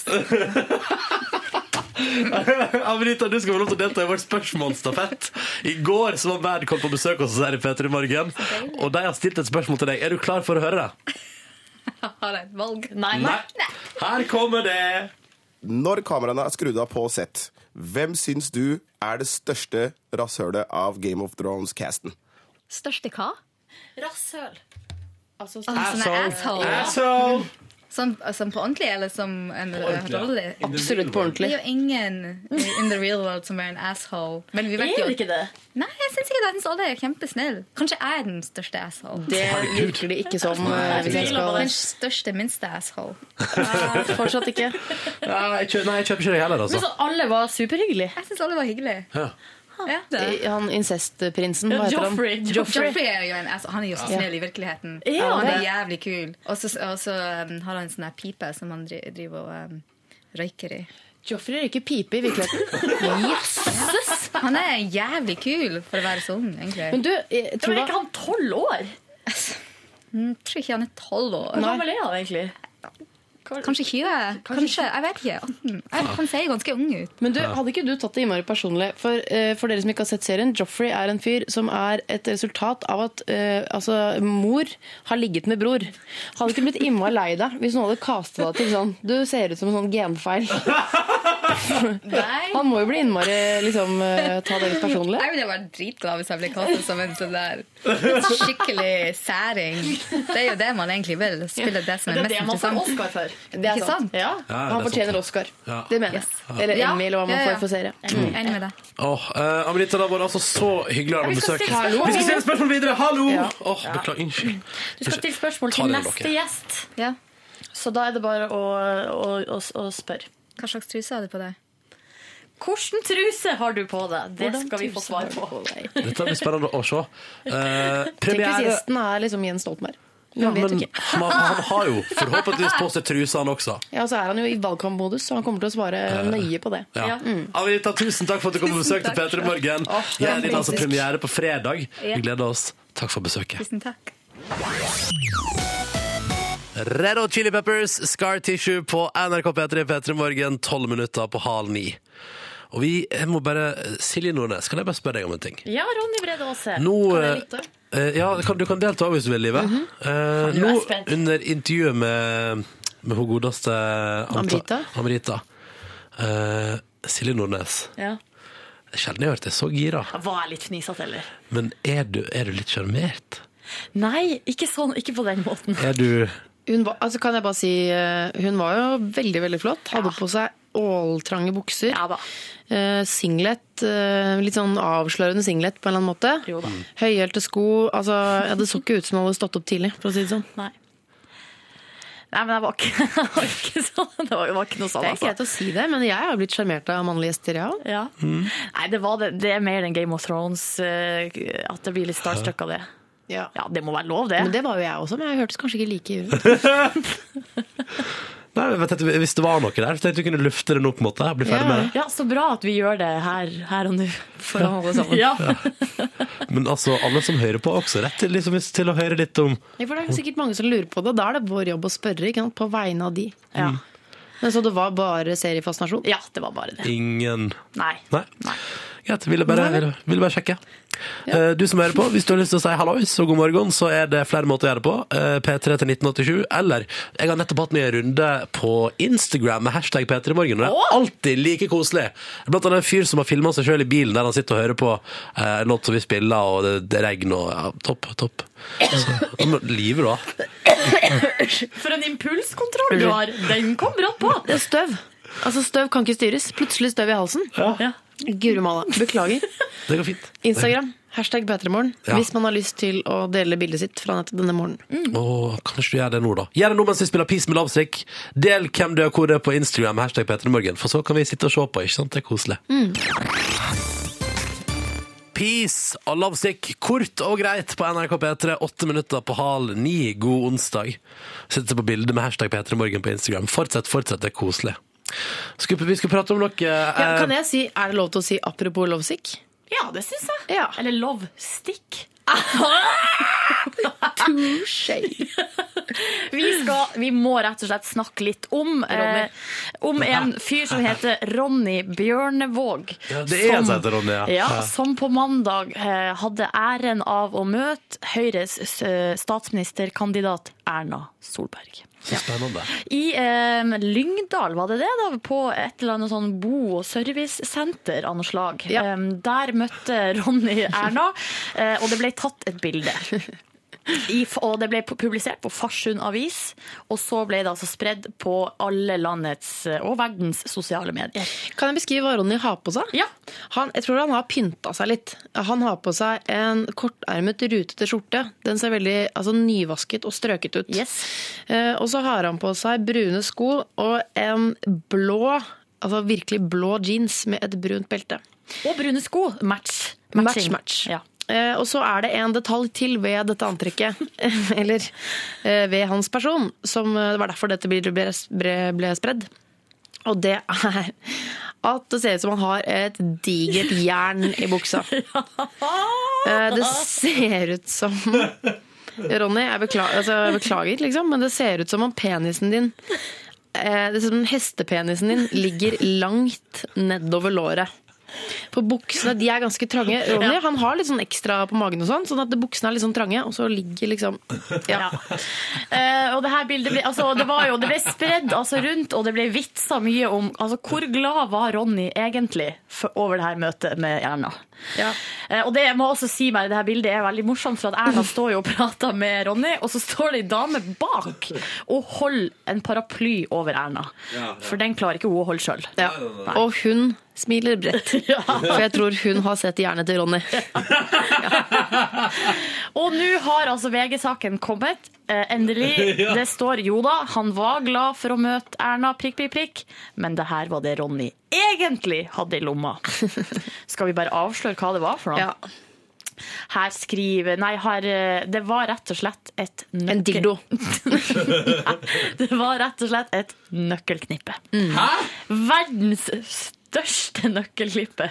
Amrita, du skal få lov til å delta i vårt spørsmålsstafett. I går så var Mad Cop på besøk hos oss her i P3 Morgen, og de har stilt et spørsmål til deg. Er du klar for å høre det? Har jeg et valg? Nei. Her kommer det! Når kameraene er skrudd av på sett, hvem syns du er det største rasshølet av Game of Thrones-casten? Største hva? Rasshøl. Altså, sånn Asshole. asshole. Asshole. Som, som på ordentlig, eller som en ordentlig, ja. rolle? In the Absolutt real på ordentlig. Det er jo ingen in the real world som er en asshole. Men vi vet Er jo det ikke det? Nei, jeg syns ikke det. Jeg syns alle er kjempesnille. Kanskje jeg er den største asshole. Det virker det ikke som. eh, Hvis jeg skal Den største, minste asshole. Fortsatt ikke. Ja, jeg kjø- Nei, jeg kjøper ikke deg heller, Men altså. så alle var superhyggelige. Jeg syns alle var hyggelige. Ja. Ja. Han incestprinsen, Ja, hva heter han? Joffrey, Joffrey. er jo en ass, Han er jo så Ja. snill i virkeligheten. Ja, han er det- jævlig kul. Og så og så, um, har han en sånn her pipe som han dri- driver og um, røyker i. Joffrey røyker pipe i virkeligheten. Jesus! Han er jævlig kul for å være så ung, egentlig. Men du, jeg tror Men da- er ikke han tolv år? Jeg Mm, tror ikke han er tolv år. Hvor gammel er han egentlig? Kanskje 20? Kanskje, jeg vet ikke. 18? Jeg, han ser ganske ung ut. Men du, hadde ikke du tatt det innmari personlig? For, eh, for dere som ikke har sett serien, Joffrey er en fyr som er et resultat av at eh, altså, mor har ligget med bror. Hadde ikke du blitt innmari lei deg hvis noen hadde kastet deg til sånn Du ser ut som en sånn genfeil. Han må jo bli innmari liksom, eh, ta det litt personlig. Jeg ville vært dritglad hvis jeg ble kastet som en sånn der skikkelig særing. Det er jo det man egentlig vil. Spille det som Ja, er det er det mest man får interessant. Oscar for. Det er Ikke sant. sant? Ja, det er sånn. Han sant. fortjener Oscar. Ja. Det mener jeg. Eller Ja. Emmy, eller hva man Ja, ja. får for serie. Mm. Enig med deg. Åh, eh, Amrita, det har vært altså så hyggelig å ha Ja, deg vi på skal stille besøk. spørsmål. Vi skal stille spørsmål videre! Hallo! Ja. Åh, beklager. Unnskyld. Du skal stille spørsmål Ta til det, neste dere. gjest. Ja. Så da er det bare å, å, å, å spørre. Hva slags truse har du på deg? Hvordan truse har du på deg? Det Hvordan skal vi få truse svar har du på. Dette blir spennende å se. Eh, Tenk hvis premiere gjesten er liksom Jens Stoltenberg. ja, Man vet jo men ikke. han, han har jo forhåpentligvis på seg trusa, han også. Ja, så er han jo i valgkampmodus, så han kommer til å svare nøye på det. Ja. Anita, tusen takk for at du kom på besøk til Mm. takk. P3 Morgen. Åh, det Jeg var er din altså fantastisk. premiere på fredag. Vi Ja. gleder oss. Takk for besøket. Tusen takk. Red Hot Chili Peppers, Scar Tissue på NRK P3 P3 Morgen, 12 minutter på halv ni. Og vi jeg må bare eh, Silje Nordnes, kan jeg bare spørre deg om en ting? Ja, Ronny Brede Aase. Nå, Kan jeg lytte? eh, ja, kan, du kan delta hvis du vil, Live. Eh, Faen, nå er jeg spent. nå, under intervjuet med, med hun godeste Anta- Amrita. Amrita. Eh, Silje Nordnes. Ja. Det er Sjelden jeg har hørt deg så gira. Var jeg litt fnisete, eller? Men er du, er du litt sjarmert? Nei, ikke sånn. Ikke på den måten. Er du Hun var, altså kan jeg bare si, eh, hun var jo veldig, veldig flott. Hadde på seg åltrange bukser. Eh, singlet, eh, litt sånn avslørende singlet på en eller annen måte. Høyhælte sko. Altså, ja, det så ikke ut som hun hadde stått opp tidlig, for å si det sånn. Nei. Nei, men jeg var ikke, jeg var ikke sånn. Det var, det var ikke noe sånn. Det er ikke greit å si det, men jeg har blitt sjarmert av mannlige gjester, ja. Ja. Mm. Nei, det, var det, det er mer enn Game of Thrones, eh, at det blir litt starstruck av det. Ja. det må være lov, det. Men det var jo jeg også, men jeg hørtes kanskje ikke like ut. Nei, men vet du, Hvis det var noe der, så tenkte jeg du kunne lufte det nå. på en måte Bli ferdig med det. Ja, så bra at vi gjør det her, her og nå. Foran alle sammen. Ja. Men altså, alle som hører på, har også rett til, liksom, til å høre litt om Ja, for det er sikkert mange som lurer på det. Da er det vår jobb å spørre ikke sant? på vegne av de. Ja. Mm. Men Så det var bare seriefascinasjon? Ja, det var bare det. ingen Nei. Nei? Greit, ville bare, Nei. ville- ville bare sjekke. Eh, Du som hører på, hvis du har lyst til å si hallois og god morgen, så er det flere måter å gjøre det på. Eh, P3 til 1987, eller jeg har nettopp hatt med en runde på Instagram med hashtag P3morgen, og det er alltid like koselig. Blant annet en fyr som har filma seg sjøl i bilen der han sitter og hører på eh, en låt som vi spiller, og det, det regner og ja, Topp, topp. Så, men Livet, da. For en impulskontroll du har! Den kom brått på! Det er støv. Altså, støv kan ikke styres. Plutselig støv i halsen. Ja. Guri malla. Beklager. Det går fint. Instagram. Hashtag P3morgen Ja. hvis man har lyst til å dele bildet sitt fra nettet denne morgenen. Åh, kanskje du gjør det nå, da. Gjør det nå mens vi spiller Peace med Lavsvik. Del hvem du er, hvor du er på Instagram, hashtag P3morgen, for så kan vi sitte og se på. ikke sant? Det er koselig. Peace og lovesick, kort og greit på NRK P3, åtte minutter på hal ni, god onsdag. Sett deg på bildet med hashtag P3morgen på Instagram. Fortsett, fortsett, det er koselig. Skulle, vi skulle prate om noe eh, Ja, Eh, kan jeg si, Er det lov til å si apropos lovesick? Ja, det syns jeg. Eller love stick. vi, skal, vi må rett og slett snakke litt om, eh, om en fyr som heter Ronny Bjørnevåg. Ja, det er en som som- heter Ronny, ja. Ja. Som på mandag eh, hadde æren av å møte Høyres eh, statsministerkandidat Erna Solberg. Så spennende. I eh, Lyngdal, var det det? da? På et eller annet sånn bo- og servicesenter av noe slag. Eh, der møtte Ronny Erna, eh, og det ble tatt et bilde. I, f- og det ble pu- publisert på Farsund avis, og så ble det altså spredd på alle landets eh, og verdens sosiale medier. Kan jeg beskrive hva Ronny har på seg? Han, jeg tror han har pynta seg litt. Han har på seg en kortermet, rutete skjorte. Den ser veldig altså, nyvasket og strøket ut. Eh, og så har han på seg brune sko og en blå, altså virkelig blå jeans med et brunt belte. Og brune sko. Match. Match, Matching. match. Ja. Eh, og så er det en detalj til ved dette antrekket, eller eh, ved hans person, som eh, det var derfor dette ble, ble, ble, ble spredd. Og det er at det ser ut som han har et digert jern i buksa. Eh, det ser ut som Ronny, jeg beklager, altså, jeg beklager liksom, men det ser ut som om penisen din eh, Det ser ut som hestepenisen din ligger langt nedover låret. På buksene, de er ganske trange. Ronny han har litt sånn ekstra på magen, og sånn, sånn at buksene er litt sånn trange, og så ligger liksom Ja. Eh, og det her bildet ble, altså, det var jo, det ble spredd altså, rundt, og det ble vitsa mye om altså, hvor glad var Ronny egentlig for, over det her møtet med Erna. Eh, og det jeg må også si meg, det her bildet er veldig morsomt, for at Erna står jo og prater med Ronny, og så står det ei dame bak og holder en paraply over Erna. Ja, ja. For den klarer ikke hun å holde sjøl. Og hun smiler bredt. For jeg tror hun har sett hjernen til Ronny. Og nå har altså VG-saken kommet. Eh, endelig. Ja. Det står jo da, han var glad for å møte Erna, prikk, prikk, prikk. Men det her var det Ronny egentlig hadde i lomma. Skal vi bare avsløre hva det var for noe? Her skriver Nei, her, eh, det var rett og slett et nøkkel... En dildo. det var rett og slett et nøkkelknippe. Hæ? Verdens største nøkkelknippe.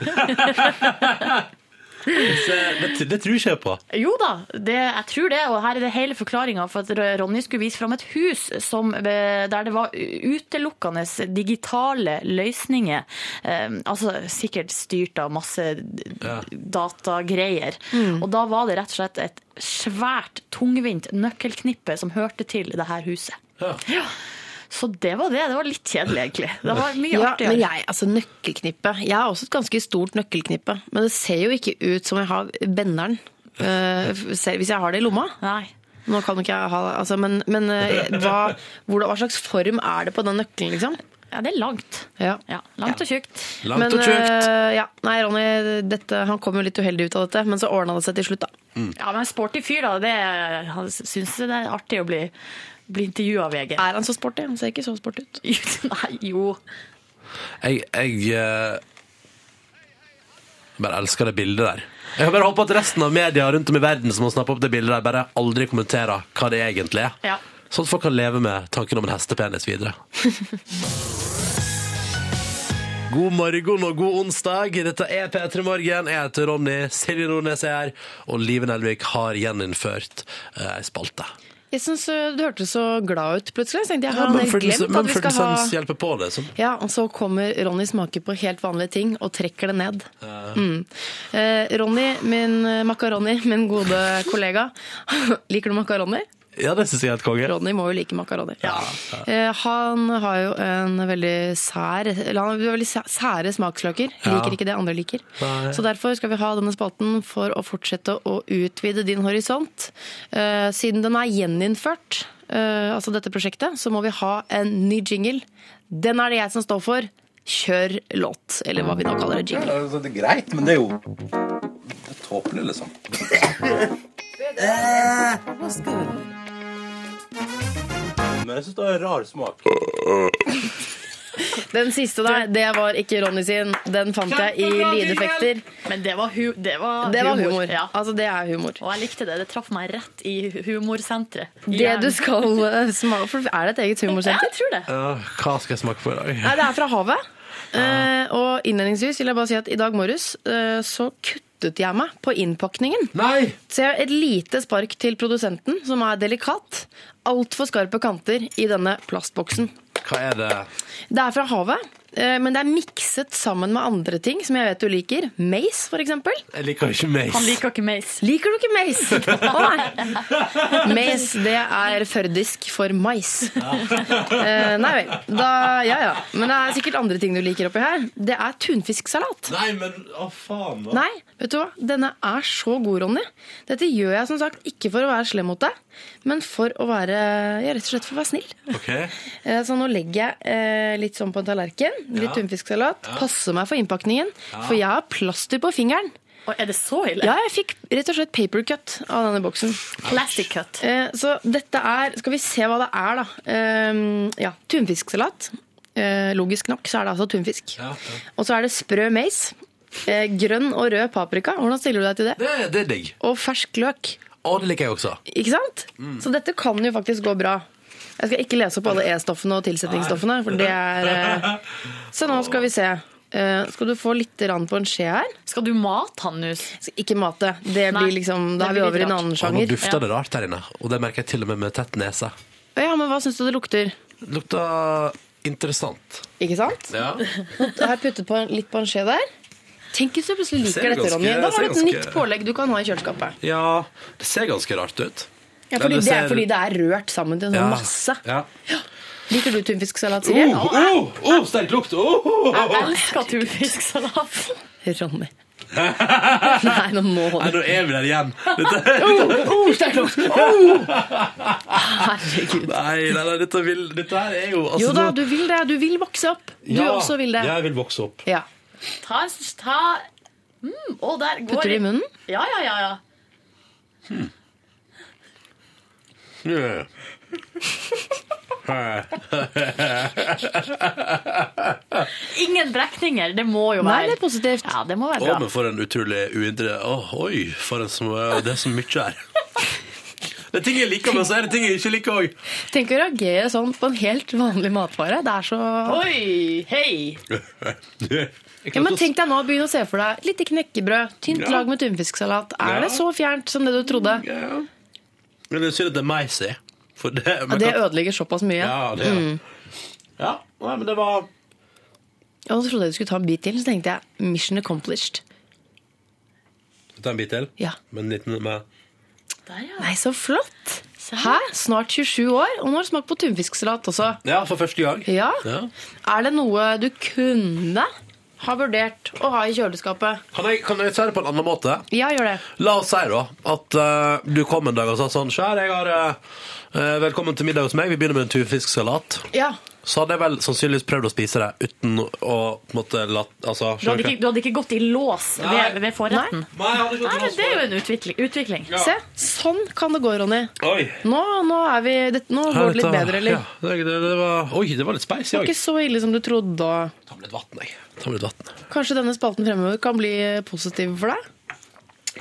Det, det, det tror ikke jeg på. Jo da, det, jeg tror det, og her er det hele forklaringa. For at Ronny skulle vise fram et hus som, eh, der det var utelukkende digitale løsninger. Eh, altså sikkert styrt av masse d- datagreier. Mm. Og da var det rett og slett et svært tungvint nøkkelknippe som hørte til det her huset. Ja. Så det var det. Det var litt kjedelig, egentlig. Det var mye ja, artigere. Men jeg, altså nøkkelknippe. Jeg har også et ganske stort nøkkelknippe. Men det ser jo ikke ut som jeg har benderen. eh, selv hvis jeg har det i lomma. Nå kan jo ikke jeg ha altså, Men, men eh, hva, hvordan, hva slags form er det på den nøkkelen, liksom? Ja, det er langt. Ja. langt og tjukt. Langt men, og tjukt. eh, ja. Nei, Ronny, dette, han kom jo litt uheldig ut av dette, men så ordna det seg til slutt, Mm. da. Ja, men sporty fyr, da. Det, han syns det er artig å bli, bli intervjua av VG. Er han så sporty? Han ser ikke så sporty ut. Nei, jo. Jeg, jeg eh, bare elsker det bildet der. Jeg kan bare håpe at resten av media rundt om i verden som har snappet opp det bildet der, bare aldri kommenterer hva det egentlig er. Ja. Sånn at folk kan leve med tanken om en hestepenis videre. God morgen og god onsdag. Dette er P3 Morgen. Jeg heter Ronny. Silje Nordnes er her. Og Live Nelvik har gjeninnført eh, ei spalte. Jeg syns eh, du hørtes så glad ut plutselig. Så tenkte jeg, har han men helt følelsen- glemt at men vi skal ha følelsens hjelper på det. Sånn. Ja, og så kommer Ronny smake på helt vanlige ting og trekker det ned. Ja. Mm. Eh, Ronny, min eh, makaroni, min gode kollega. Liker du makaroni? Ja, det syns jeg er helt konge. Ronny må jo like makaroni. Eh, han har jo en veldig sær Eller han har veldig sæ- sære smaksløker. Ja. Liker ikke det andre liker. Nei. Så derfor skal vi ha denne spalten for å fortsette å utvide din horisont. Eh, siden den er gjeninnført, eh, altså dette prosjektet, så må vi ha en ny jingle. Den er det jeg som står for. Kjør låt, eller hva vi nå kaller Ja, det. det, jingle. er- det er greit, men det er jo Det er tåpelig, liksom. Men jeg syns det har rar smak. Den siste der, det var ikke Ronny sin. Den fant jeg i Kjempebra, lydeffekter. Men det var, hu det var Det var humor. humor. Altså, det er humor. Og jeg likte det. Det traff meg rett i humorsenteret. Det du skal eh, smake for Er det et eget humorsenter? Jeg tror det. Ja, hva skal jeg smake på i dag? Nei, det er fra havet. Eh, og innledningsvis vil jeg bare si at i dag morges eh, så kuttet jeg meg på innpakningen. Nei! Så jeg har et lite spark til produsenten, som er delikat. Altfor skarpe kanter i denne plastboksen. Hva er det? Det er fra havet, eh, men det er mikset sammen med andre ting som jeg vet du liker. Mace, for eksempel. Jeg liker ikke Han mace. liker ikke Mace. Liker du ikke mace? Å nei. Mace, det er førdisk for mais. Eh, nei vel. Da, ja ja. Men det er sikkert andre ting du liker oppi her. Det er tunfisksalat. Nei, men å faen, da. Nei, vet du hva? Denne er så god, Ronny. Dette gjør jeg som sagt ikke for å være slem mot deg, men for å være, ja, rett og slett for å være snill. Ok. Eh, Så nå legger jeg eh, litt sånn på en tallerken. Litt Ja. tunfisksalat. Ja. Passer meg for innpakningen, Ja. for jeg har plaster på fingeren. er det så ille? Ja, jeg fikk rett og slett papercut av denne boksen. Plastic cut. Eh, så dette er Skal vi se hva det er, da. Um, ja, tunfisksalat. Eh, logisk nok så er det altså tunfisk. Og så er det sprø mais. Eh, grønn og rød paprika. Hvordan stiller du deg til det? Det, det er digg. Og fersk løk. Å, det liker jeg også. Ikke sant? Mm. Så dette kan jo faktisk gå bra. Jeg skal ikke lese opp alle E-stoffene og tilsetningsstoffene, for det er eh. Så nå skal vi se. Eh, skal du få litt rann på en skje her? Skal du mate han, Nus? Ikke mate. Det Nei, blir liksom, det da er vi blir over i litt en rart. annen Og nå sjanger. dufter det rart her inne, og det merker jeg til og med med tett nese. Ja, men hva syns du det lukter? Det lukter interessant. Ikke sant? Ja. Jeg har puttet på, en- litt på en skje der. Tenk hvis du plutselig Det ser liker dette, ganske- Ronny. Da det har ser du et ganske- nytt pålegg du kan ha i kjøleskapet. Ja, det ser ganske rart ut. Ja, fordi det, ser- er fordi det er rørt sammen til en sånn Ja. masse. Ja. Liker du tunfisksalat, Silje? Oh, oh, oh, sterk lukt! Oh, oh, oh, oh. elsker tunfisksalat. Ronny. Nei, nå må du Nei, nå er vi der igjen. Oh, oh, sterk lukt! Oh! Herregud. Nei, nei, nei dette, vil, dette her er jo altså, Jo da, nå- du vil det. Du vil vokse opp. Du Ja, også vil det. Jeg vil vokse opp. Ja. Ta, en- ta mm, å, der går Putter du i munnen? Ja, ja, ja. ja. Yeah. Ingen brekninger. Det må jo være Nei, det er positivt. Ja, det må være Å, bra. men for en utrolig uinteressant Oi, for en som, det er så mye her. Det er ting jeg liker, men så er det ting jeg ikke liker òg. Tenk å reagere sånn på en helt vanlig matvare. Det er så Oi, hei! Ja, men tenk deg nå, begynn å se for deg lite knekkebrød, tynt Ja. lag med tunfisksalat. Er Ja. det så fjernt som det du trodde? Men det er synd at det er meg, si. For det, Ja, det ødelegger såpass mye. Ja, det, Mm. ja nei, men det var Og så trodde jeg du skulle ta en bit til, så tenkte jeg mission accomplished. Ta en bit til? Ja. Men litt med Nei, så flott! Hæ? Snart 27 år, og nå har du smakt på tunfisksalat også. Ja, for første gang. Ja. Ja. Er det noe du kunne ha vurdert å ha i kjøleskapet? Kan jeg, kan jeg si det på en annen måte? Ja, gjør det. La oss si da at eh, du kom en dag og sa sånn Kjær, jeg har eh, velkommen til middag hos meg. Vi begynner med en tunfisksalat. Ja. Så hadde jeg vel sannsynligvis prøvd å spise det uten å på en måte la altså, Du hadde, ikke, du hadde ikke gått i lås ved, ved forretten? Nei, jeg hadde ikke gått i Nei, men lås Det er jo en utvikling. utvikling. Se, sånn kan det gå, Ronny. Oi. Nå, nå, er vi, det, nå Ja, går det litt dette- bedre, eller? Ja, det, det, det var, oi, det var litt speis Det i var dag. ikke så ille som du trodde. og Ta med litt vann, jeg. Ta med litt vann. Kanskje denne spalten fremover kan bli positiv for deg?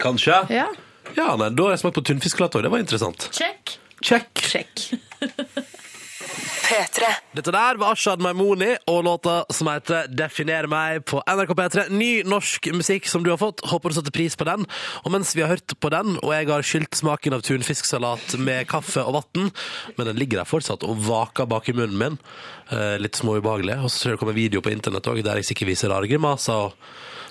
Kanskje? Ja. Ja, nei, da har jeg smakt på tunfisksalat òg. Det var interessant. Check. Check. Dette der var Shad Maimoni og låta som heter 'Definer meg' på NRK P3. Ny norsk musikk som du har fått. Håper du satte pris på den. Og mens vi har hørt på den, og jeg har skylt smaken av tunfisksalat med kaffe og vann, men den ligger der fortsatt og vaker bak i munnen min, eh, litt småubehagelig, og så tror jeg det kommer video på internett òg der jeg sikkert viser rare grimaser og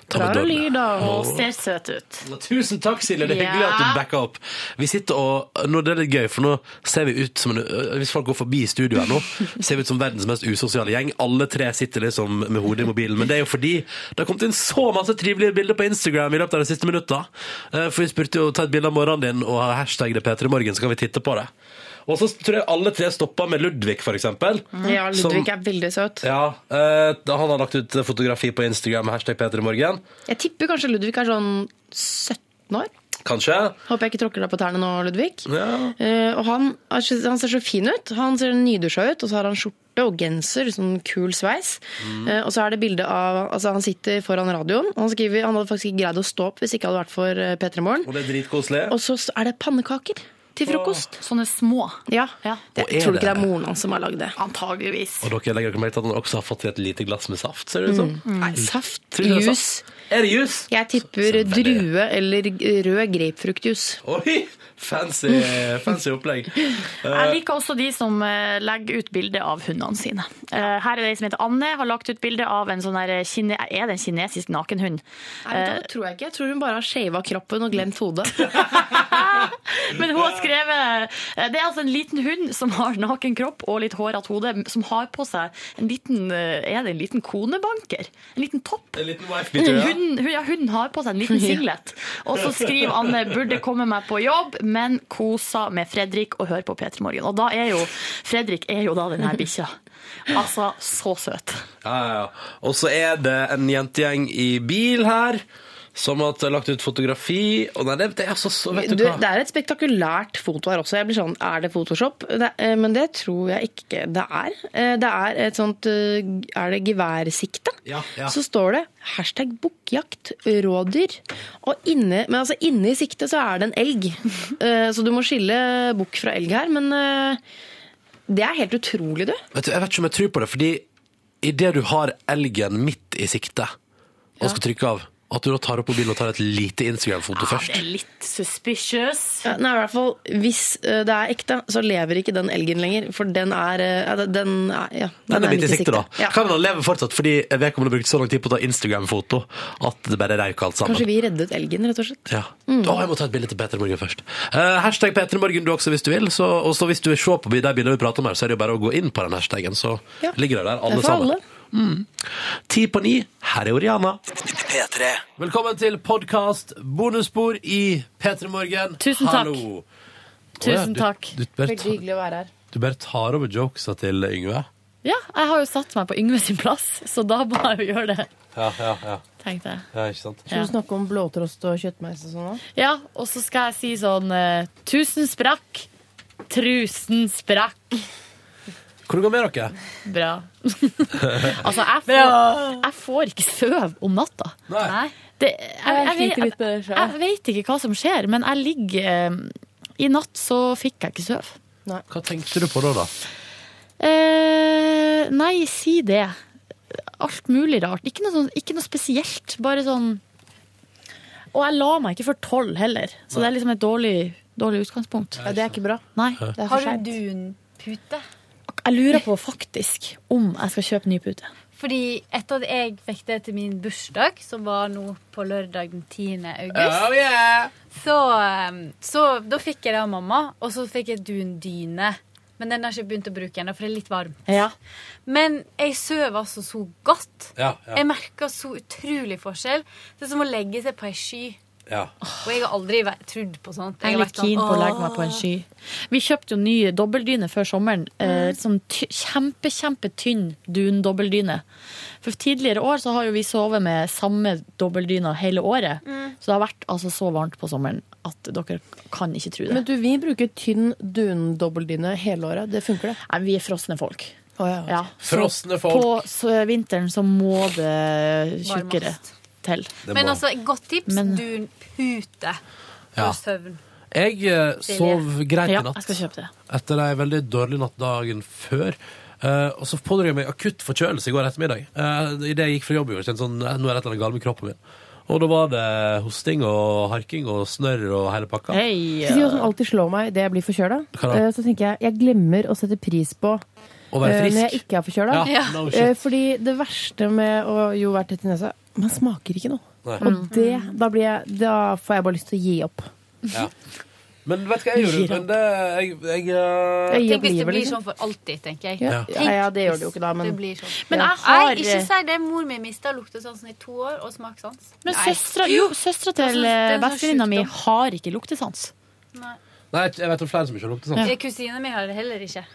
tar med dørene. Og ser søt ut. Tusen takk, Silje. Det er Ja. hyggelig at du backa opp. Vi sitter og, nå, det er litt gøy, for nå ser vi ut som en, øh, Hvis folk går forbi studioet nå, ser vi ut som verdens mest usosiale gjeng. Alle tre sitter liksom med hodet i mobilen. Men det er jo fordi det har kommet inn så masse trivelige bilder på Instagram i løpet av de siste minutta. Eh, For vi spurte jo ta et bilde av morgenen din og hashtag det P3morgen, så kan vi titte på det. Og så tror jeg alle tre stoppa med Ludvig, for eksempel. Ja, Ludvig som- er veldig søt. Sånn. ja, eh, han har lagt ut fotografi på Instagram med hashtag P3morgen. Jeg tipper kanskje Ludvig er sånn 17 år. Kanskje. Håper jeg ikke tråkker deg på tærne nå, Ludvig. Ja. Eh, og han, er så- han ser så fin ut. Han ser nydusja ut, og så har han skjorte og genser, sånn kul sveis. Mm. Eh, og så er det bilde av Altså, han sitter foran radioen, og han skriver Han hadde faktisk ikke greid å stå opp hvis ikke hadde vært for eh, P3 Morgen. Og det er dritkoselig. Og så er det pannekaker til frokost. Sånne små. Ja. Det, Og er tror du ikke det det- er moren hans som har lagd det? Antageligvis. Og dere legger dere merke til at han også har fått i et lite glass med saft, ser det ut som? Mm. Nei, saft, Tror du det er jus. saft? Er det jus? Jeg tipper drue eller rød grapefruktjus. Oi! Fancy, fancy opplegg. Jeg Eh, liker også de som eh, legger ut bilde av hundene sine. Eh, Her er det ei som heter Anne, har lagt ut bilde av en sånn der kine... Er det en kinesisk nakenhund? Nei, det tror jeg ikke. Jeg tror hun bare har shava kroppen og glemt hodet. Men hun har skrevet eh, Det er altså en liten hund som har naken kropp og litt hårete hode, som har på seg en liten eh, Er det en liten konebanker? En liten topp? En liten wife-beater, ja. Hun, hun, ja, hun har på seg en liten singlet. Og så skriver Anne 'burde komme meg på jobb, men kosa med Fredrik og hør på P3 Morgen'. Og da er jo Fredrik er jo da den her bikkja. Altså, så søt. Ja, ja, ja. Og så er det en jentegjeng i bil her, som har lagt ut fotografi. Og nei, det, det er altså så, vet Du, du hva? det er et spektakulært foto her også. Jeg blir sånn, Er det Photoshop? Det, eh, men det tror jeg ikke det er. Eh, Det er et sånt eh, Er det geværsikte? Ja, ja. Så står det hashtag bukkjakt, rådyr. Og inne, men altså inne i siktet så er det en elg. Eh, Så du må skille bukk fra elg her. Men eh, det er helt utrolig, du. Vet du, jeg vet ikke om jeg tror på det, fordi idet du har elgen midt i sikte og skal trykke av, at du da tar opp mobilen og tar et lite Ah, Instagram-foto først. er litt suspicious. Ja, nei, i hvert fall, Hvis eh, det er ekte, så lever ikke den elgen lenger. For den er, eh, ja, den er, ja, den Den er midt i midt i sikte, da. sikte. Ja. Kan han leve fortsatt fordi vedkommende brukte så lang tid på å ta Instagram-foto at det bare røyk alt sammen? Kanskje Mm. vi reddet elgen, rett og slett. Ja. Å, jeg må ta et bilde til Peter Morgen først. Eh, hashtag Peter Morgen du også, hvis du vil. Så, og så hvis du vil se på de bildene vi prater om her, så er det jo bare å gå inn på den hashtagen, så Ja. ligger det der, Det er alle for sammen. Mm. alle. Ti på ni, her er Oriana. P3. Velkommen til podkast bonusspor i P3 Morgen. Tusen takk. Hallo. Tusen Å ja, du- takk. du bare Veldig tar- hyggelig å være her. Du bare tar over jokesa til Yngve. Ja, jeg har jo satt meg på Yngve sin plass, så da må jeg jo gjøre det. Ja, ja, ja. tenkte jeg. ja ikke sant? Skal du snakke om blåtrost og kjøttmeis og sånn òg? Ja, og så skal jeg si sånn eh, Tusen sprakk, trusen sprakk. Hvordan går det med dere? Bra. Altså, jeg får, jeg får ikke sove om natta. Nei. Det, jeg, jeg, Jeg sliter jeg, litt med det selv. jeg vet ikke hva som skjer, men jeg ligger eh, I natt så fikk jeg ikke sove. Hva tenkte du på da, da? Eh, nei, si det. Alt mulig rart. Ikke noe, sånn, ikke noe spesielt. Bare sånn Og jeg la meg ikke før tolv heller, så det er liksom et dårlig, dårlig utgangspunkt. Ja, det er ikke bra. Nei, Ja. det er for Har sent. du dunpute? Jeg lurer på faktisk om jeg skal kjøpe ny pute. Fordi etter at jeg fikk det til min bursdag, som var nå på lørdag den 10. august Oh, yeah! så, um, så da fikk jeg det av mamma, og så fikk jeg dundyne. Men den har jeg ikke begynt å bruke ennå, for det er litt varmt. Men jeg sover altså så godt. Ja, ja. Jeg merker så utrolig forskjell. Det er som å legge seg på ei sky. Ja. Og jeg har aldri vært, trodd på sånt. Jeg er har litt vært sånn, keen på å legge meg «Åh». på en sky. Vi kjøpte jo ny dobbeldyne før sommeren. Mm. Eh, sånn ty kjempe, kjempetynn dundobbeldyne. For tidligere år så har jo vi sovet med samme dobbeldyna hele året. Mm. Så det har vært altså så varmt på sommeren at dere kan ikke tro det. Men du, vi bruker tynn dundobbeldyne hele året. Det funker, det. Nei, vi er frosne folk. Ja. Frosne Så På så vinteren så må det tjukkere til. Men altså, godt tips. Dunpute for Ja. søvn. Jeg eh, sov greit i Ja, natt. jeg skal kjøpe det. Etter ei veldig dårlig natt dagen før. Eh, og så pådro jeg meg akutt forkjølelse i går ettermiddag. Uh, Idet jeg gikk fra jobb i går, kjente jeg sånn eh, Nå er det et eller annet galt med kroppen min. Og da var det hosting og harking og snørr og hele pakka. Eh, Skal jeg si hva som alltid slår meg idet jeg blir forkjøla? Hva da? Eh, Så tenker jeg jeg glemmer å sette pris på Å være eh, frisk. når jeg ikke er forkjøla. Ja, no shit. Eh, Fordi det verste med å jo være tett i nesa Man smaker ikke noe. Nei. Og det, da, blir jeg, da får jeg bare lyst til å gi opp. Ja. Men vet du hva jeg gjorde? Gir opp. Men det, jeg, jeg, eh, Tenk hvis det blir sånn for alltid, tenker jeg. liksom. Ja. Tenk Ja, ja, det gjør hvis det jo ikke da, men- det blir sånn. Men jeg har- Nei, ikke si det. Mor mi mista luktesansen i to år, og sånn. smakssans. Men Nei. søstra, jo, søstra Det er sånn- til eh, det er sånn bestevenninna mi sjukdom. har ikke luktesans. Nei, jeg vet om flere som ikke har luktesans. Eh, Kusina mi har det heller ikke.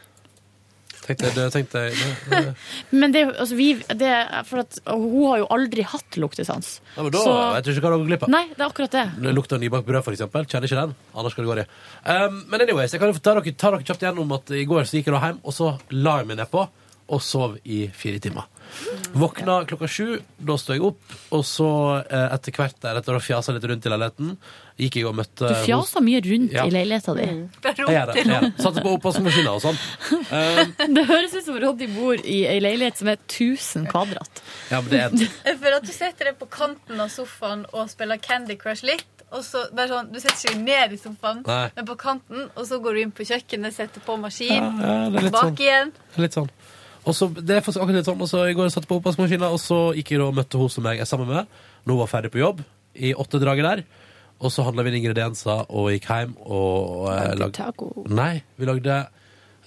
Tenkte jeg, det, tenkte jeg det, det. Men det, er jo- altså, vi, det er for at hun har jo aldri hatt luktesans. Ja, men da Så- vet du ikke hva du går glipp av. Nei, det er akkurat det. Det lukter nybakt brød, for eksempel. Kjenner ikke den. Anders skal det gå i. Um, men anyways, jeg kan jo ta dere, ta dere kjapt gjennom at i går så gikk jeg da hjem, og så la jeg meg nedpå og sov i fire timer. Våkna klokka sju, da sto jeg opp, og så eh, etter hvert deretter og fjasa litt rundt i leiligheten, gikk jeg og møtte Du fjasa mye rundt Ja. i leiligheta di. Jeg gjør det. jeg gjør det. Satte på oppvaskmaskina og sånn. Um, Det høres ut som Roddy bor i ei leilighet som er 1000 kvadrat. ja, men det er Jeg føler at du setter deg på kanten av sofaen og spiller Candy Crush litt. Og så bare sånn, Du setter ikke ned i sofaen, Nei. men på kanten, og så går du inn på kjøkkenet, setter på maskin, Ja, ja, det er litt bak sånn. igjen. Litt sånn. Og så, det er faktisk akkurat litt sånn, og så I går satt jeg på oppvaskmaskina, og så gikk jeg da og møtte hun som jeg er sammen med. Nå var ferdig på jobb i åttedraget der. Og så handla vi inn ingredienser og gikk hjem og eh, Lagde lag- taco. Nei, vi lagde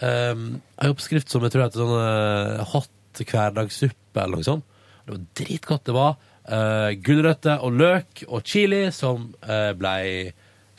um, en oppskrift som jeg tror heter sånn eh, hot hverdagssuppe eller noe sånt. Det var dritgodt. Det var eh, gulrøtter og løk og chili som eh, blei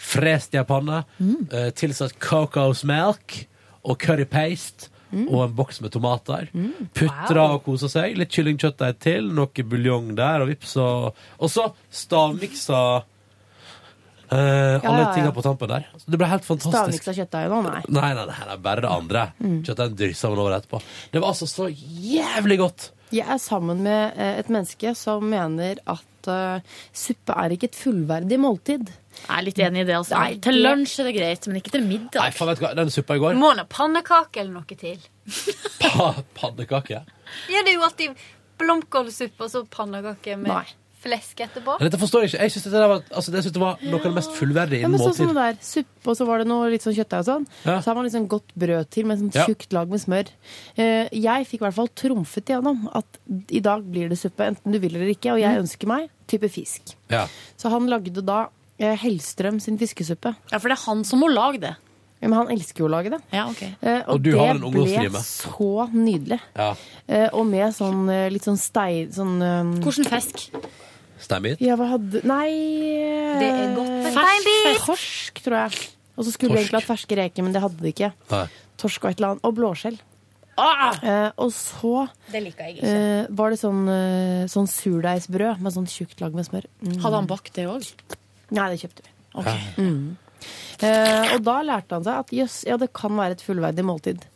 frest i ei panne. Mm. eh, tilsatt cocosmelk og curry paste. Mm. Og en boks med tomater. Putra og kosa seg. Litt kyllingkjøttdeig til, noe buljong der, og vips. Og, og så stavmiksa eh, alle ja, ja. tinga på tampen der. Så det ble helt fantastisk. Stavmiksa kjøttdeig nå, nei. Nei, nei, det her er bare det andre. Mm. Kjøttdeigen dryssa man over etterpå. Det var altså så jævlig godt! Jeg er sammen med eh, et menneske som mener at eh, suppe er ikke et fullverdig måltid. Jeg er litt enig i det. altså. til lunsj er det greit, men ikke til middag. Nei, faen, vet du hva, den suppa i går Må nå pannekake eller noe til. pa, Pannekake. Ja, det er jo alltid blomkålsuppe og så pannekake med Nei. flesk etterpå. Dette forstår jeg ikke. Jeg syns det, der var- altså, det synes jeg var noe av det mest fullverdige Ja, innen men sånn måltid. som det der, Suppe, og så var det noe litt sånn kjøttdeig og sånn. Ja. Så har man litt sånn godt brød til med sånn Ja. tjukt lag med smør. Eh, jeg fikk i hvert fall trumfet igjennom at i dag blir det suppe, enten du vil eller ikke. Og Mm. jeg ønsker meg type fisk. Ja. Så han lagde da eh, Hellstrøm sin fiskesuppe. Ja, for det er han som må lage det. Ja, men han elsker jo å lage det. Eh, Og du har vel en det ungdomsdrive? ble så nydelig. Ja. Eh, og med sånn eh, litt sånn stein... Sånn, Hvordan fisk? Steinbit? Ja, hva hadde Nei eh, Det er godt med fersk, steinbit. Torsk, tror jeg. Og så skulle vi Torsk. egentlig hatt ferske reker, men det hadde de ikke. Nei. Torsk og et eller annet. Og blåskjell. Ah! Eh, og så Det liker jeg ikke. eh, var det sånn, eh, sånn surdeigsbrød med sånn tjukt lag med smør. Mm. Hadde han bakt det òg? Nei, det kjøpte vi. Mm. Eh, og da lærte han seg at jøss, ja, det kan være et fullverdig måltid.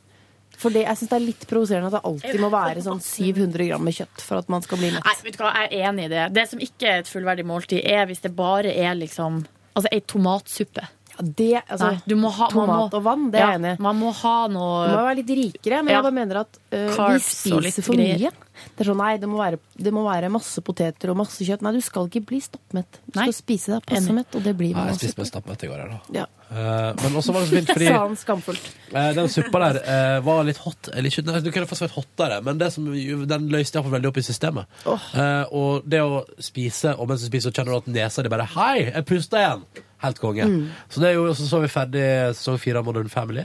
For det, jeg syns det er litt provoserende at det alltid må være sånn 700 gram med kjøtt for at man skal bli mett. Nei, vet du hva, jeg er enig i det. Det som ikke er et fullverdig måltid, er hvis det bare er liksom Altså ei tomatsuppe. Det, altså, Nei, du må ha, man tomat må- og vann, det er jeg Ja, enig i. Man må ha noe Man må være litt rikere, Eh, men Ja. jeg bare mener at eh, vi Carbs og litt spiser for greier. mye. Det er sånn, nei, det må, være, det må være masse poteter og masse kjøtt. Nei, du skal ikke bli stappmett. Du skal spise deg passe mett, og det Nei, blir man jeg spiste også. meg stappmett i går, jeg, da. Ja. Eh, men også var det så fint, fordi Sa han skamfullt. eh, den suppa der eh, var litt hot. Eller ikke, nei, du kunne faktisk vært hottere, men det som, jo- den løste iallfall veldig opp i systemet. Eh, og det å spise, og mens du spiser, så kjenner du at nesa di bare Hei, jeg puster igjen! Helt konge. Mm. Så det er jo så, så vi ferdig sesong fire av Modern Family.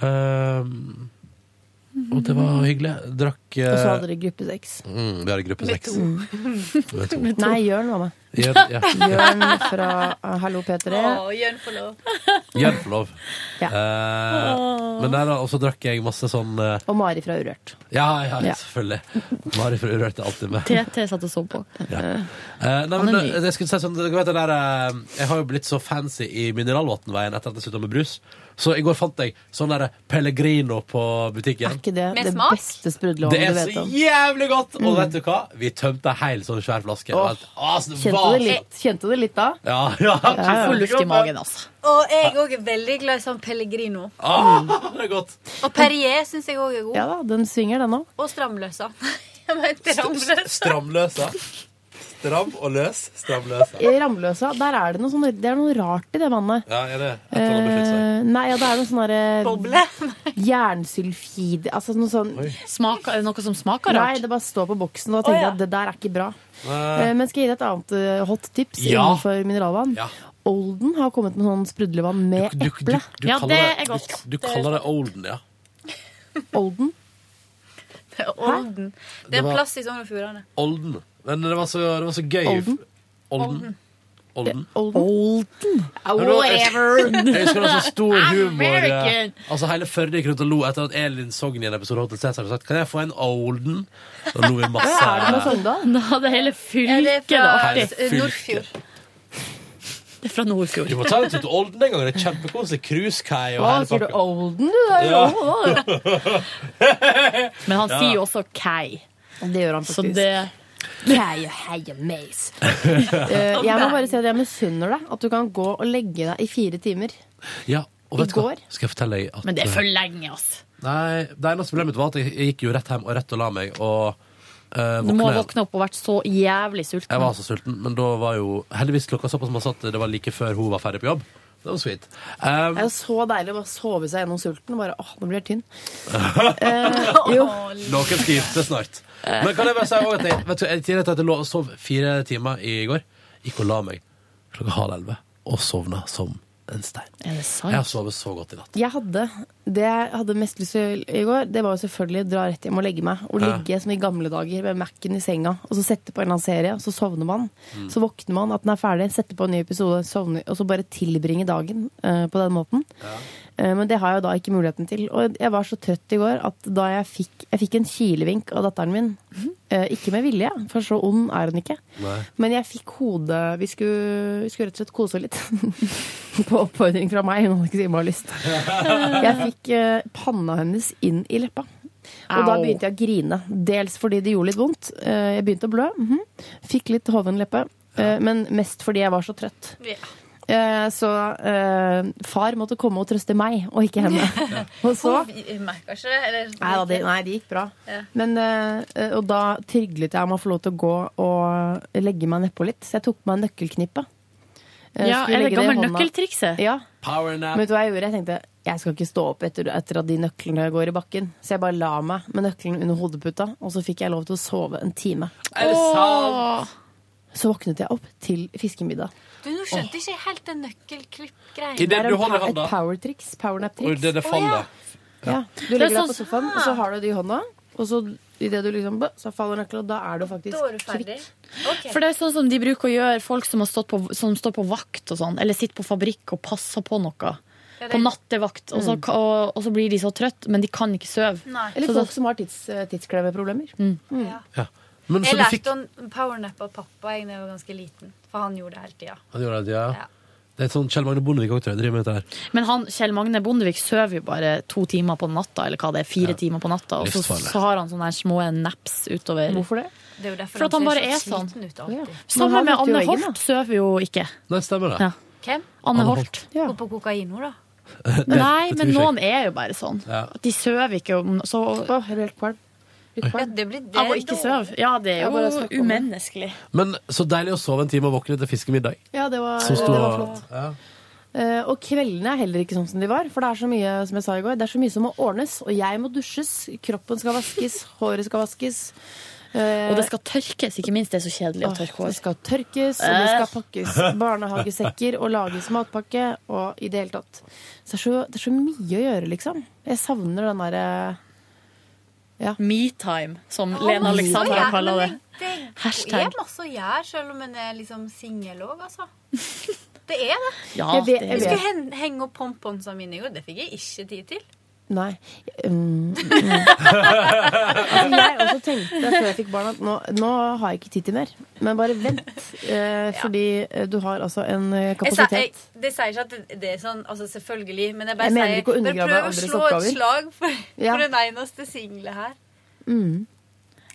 Eh, og det var hyggelig. Drakk eh, Og så hadde dere gruppe seks. mm, Vi hadde gruppe seks. Med to. Nei, Jørn var med. Jørn, ja. Jørn fra eh, Hallo P3. Jørn får lov. Hjelp lov. Ja. Eh, men der da, og så drakk jeg masse sånn eh, Og Mari fra Urørt. Ja, ja, Ja. selvfølgelig. Mari fra Urørt er alltid med. TT satt og så på. Ja. Eh, nei, men, eh, jeg, skulle si sånn, dere vet det der, eh, jeg har jo blitt så fancy i mineralvannveien etter at jeg slutta med brus. Så i går fant jeg sånn der Pellegrino på butikken. Ikke det, Med det smak? beste sprudlånet Det du er vet så om. Mm. jævlig godt! Og vet du hva? Vi tømte en hel sånn svær flaske. Åh, Alt- altså, det Kjente var det så- litt, kjente det litt da? Ja, ja. Jeg får luft i magen, altså. Og jeg òg er veldig glad i sånn Pellegrino. Ah, det er godt. Og Perrier syns jeg òg er god. Ja da, den svinger, den òg. Og stramløsa. Jeg mente ramløsa. Stramløsa. Stram og løs. Stramløsa. I Ramløsa, der er det noe, sånn, det er noe rart i det vannet. Ja, er Sånn det? Et eller annet befinner seg. Eh, nei, ja, det er noe sånn derre Boble? Jernsylfid Altså noe sånn Smaker, er det noe som smaker rart? Nei, det bare står på boksen, og da tenker jeg Å, ja. at det der er ikke bra. Nei. Eh, men skal jeg gi deg et annet eh, hot tips Ja. innenfor mineralvann? Olden har kommet med sånn sprudlevann med eple. Du kaller Du, du kaller det olden, ja. Olden? Olden. Det Det er en var- plass i Sogn og Fjordane. Olden. Men det var så, det var så gøy. Olden? Olden. Olden. Olden. Men det var- Jeg husker det var så stor humor. eh, American. Altså Hele Førde gikk rundt og lo etter at Elin Sogn i en episode av Hotel Cæsar hadde sagt Kan jeg få en Olden? Da lo vi masse. sånn Sogndal? Nei, det er hele fylket. Ja, Hele det er fylket. artig. Det er fra Nordfjord. Du må ta en tur til Olden en gang. Det er kjempekoselig. Cruisekai og Hva hele sier du? pakka. Olden, du? Det er Ja. jo Olden, da. Men han Ja. sier jo også Kei. Det gjør han Så faktisk. det Kei og hei og meis. Eh, jeg må bare si at jeg misunner deg at du kan gå og legge deg i fire timer. Ja, og vet I du hva? går? Skal jeg fortelle deg at Men det er for lenge, altså. Nei, det eneste problemet mitt var at jeg jeg gikk jo rett hjem og rett og la meg, og eh, Du våkna må igjen. våkne opp og vært så jævlig sulten. Jeg var så sulten, men da var jo heldigvis klokka såpass masse at det var like før hun var ferdig på jobb. Det var sweet. Um, Det er jo så deilig å bare sove seg gjennom sulten. Bare, åh, nå blir jeg tynn. Eh, jo. Noen skal gifte snart. Men kan jeg bare si også at jeg, vet du, jeg, tidligere at jeg lå og sov fire timer i går. Gikk og la meg klokka halv elleve og sovna som en stein. Er det Jeg har sovet så godt i natt. Jeg hadde det jeg hadde mest lyst til i går, det var jo selvfølgelig å dra rett hjem og legge meg. Og Ja. ligge som i gamle dager med Mac-en i senga, og så sette på en eller annen serie, og så sovner man. Mm. Så våkner man at den er ferdig, setter på en ny episode, sovner, og så bare tilbringe dagen eh, på den måten. Eh, men det har jeg jo da ikke muligheten til. Og jeg var så trøtt i går at da jeg fikk, jeg fikk en kilevink av datteren min, eh, ikke med vilje, for så ond er hun ikke, Nei. men jeg fikk hodet vi skulle, vi skulle rett og slett kose litt. På oppfordring fra meg. Hun hadde ikke si hva hun har lyst. Jeg fikk eh, panna hennes inn i leppa. Og da Au. begynte jeg å grine. Dels fordi det gjorde litt vondt. eh, jeg begynte å blø. mhm. Fikk litt hoven leppe. eh, men mest fordi jeg var så trøtt. Eh, så eh, far måtte komme og trøste meg, og ikke henne. Og så Hun merker ikke det? Eller, Nei, da, det, nei, det gikk bra. Ja. Men, eh, eh, og da tryglet jeg om å få lov til å gå og legge meg nedpå litt. Så jeg tok på meg nøkkelknippet. Eh, Ja, skulle er det legge i gammel hånda. nøkkeltrikset? Ja. Powernap. Men vet du hva jeg gjorde? Jeg tenkte jeg skal ikke stå opp etter, etter at de nøklene går i bakken. Så jeg bare la meg med nøkkelen under hodeputa, og så fikk jeg lov til å sove en time. Er det sant? Så våknet jeg opp til fiskemiddag. Du, nå skjønte jeg ikke helt den nøkkelklipp-greia. I det du holder i Et hånda. powertriks. Og Powernap-triks. det, det faller. Ja. Du Det legger er deg sånn- på sofaen, og så har du det i hånda. Og så idet du liksom bø, Så faller nøkkelen, og da er du faktisk kvitt. For det er sånn som de bruker å gjøre folk som, har stått på, som står på vakt og sånn, eller sitter på fabrikk og passer på noe. på nattevakt, og så, Mm. og, og så blir de så trøtt, men de kan ikke sove. Nei. Så Eller da- folk som har tids, eh, tidsklemmeproblemer. Ja. Men så jeg du lærte fikk å powernappe av pappa jeg da jeg var ganske liten, for han gjorde det hele tida. Han gjorde det, ja. Det er et sånn Kjell Magne Bondevik òg, tror jeg. Driver med dette her. Men han, Kjell Magne Bondevik sover jo bare to timer på natta, eller hva det er, fire timer på natta, og så, Livsfarlig. så har han sånne her små naps utover. Hvorfor det? Det er jo derfor For at han bare er ser så sånn. sliten ut alltid. Sammen med Anne Holt sover jo ikke. Nei, stemmer det. Ja. Hvem? Anne Holt. Og på kokain nå, da. Det- Nei, det tror men jeg noen er jo bare sånn. Ja. At de sover ikke om så Har du helt kvalm? Ja, det blir det Av å ikke sove. Ja, det er Ja, bare snakk om jo det. umenneskelig. Men så deilig å sove en time og våkne til fiskemiddag. Ja, det var, Som sto det var og- flott. Ja. Eh, og kveldene er heller ikke sånn som de var. For det er så mye som jeg sa i går, det er så mye som må ordnes. Og jeg må dusjes, kroppen skal vaskes, håret skal vaskes. eh, Eh. Og det skal tørkes, ikke minst. Det er så kjedelig å tørke hår. Det skal tørkes, og det skal Eh. pakkes barnehagesekker og lages matpakke. Og i det hele tatt. Så det er så, det er så mye å gjøre, liksom. Jeg savner den eh, derre ja. Metime, som Ja, Lena masse å Alexandra gjøre, kaller det. men Det Hashtag. er masse å gjøre, selv om en er liksom singel òg, altså. Det er det. Ja, Jeg vet- det er jeg det. skulle hen, henge opp pomponsene mine i går. Det fikk jeg ikke tid til. Nei. Mm, mm. Som jeg også tenkte før jeg fikk barn, at nå, nå har jeg ikke tid til mer. Men bare vent, eh, fordi eh, du har altså en eh, Jeg sa, kapasitet. jeg, det sier ikke at det, det er sånn, altså selvfølgelig, men jeg bare Jeg mener sier ikke å bare undergrave prøv å andres slå oppgaver. et slag for, Ja. for den eneste single her.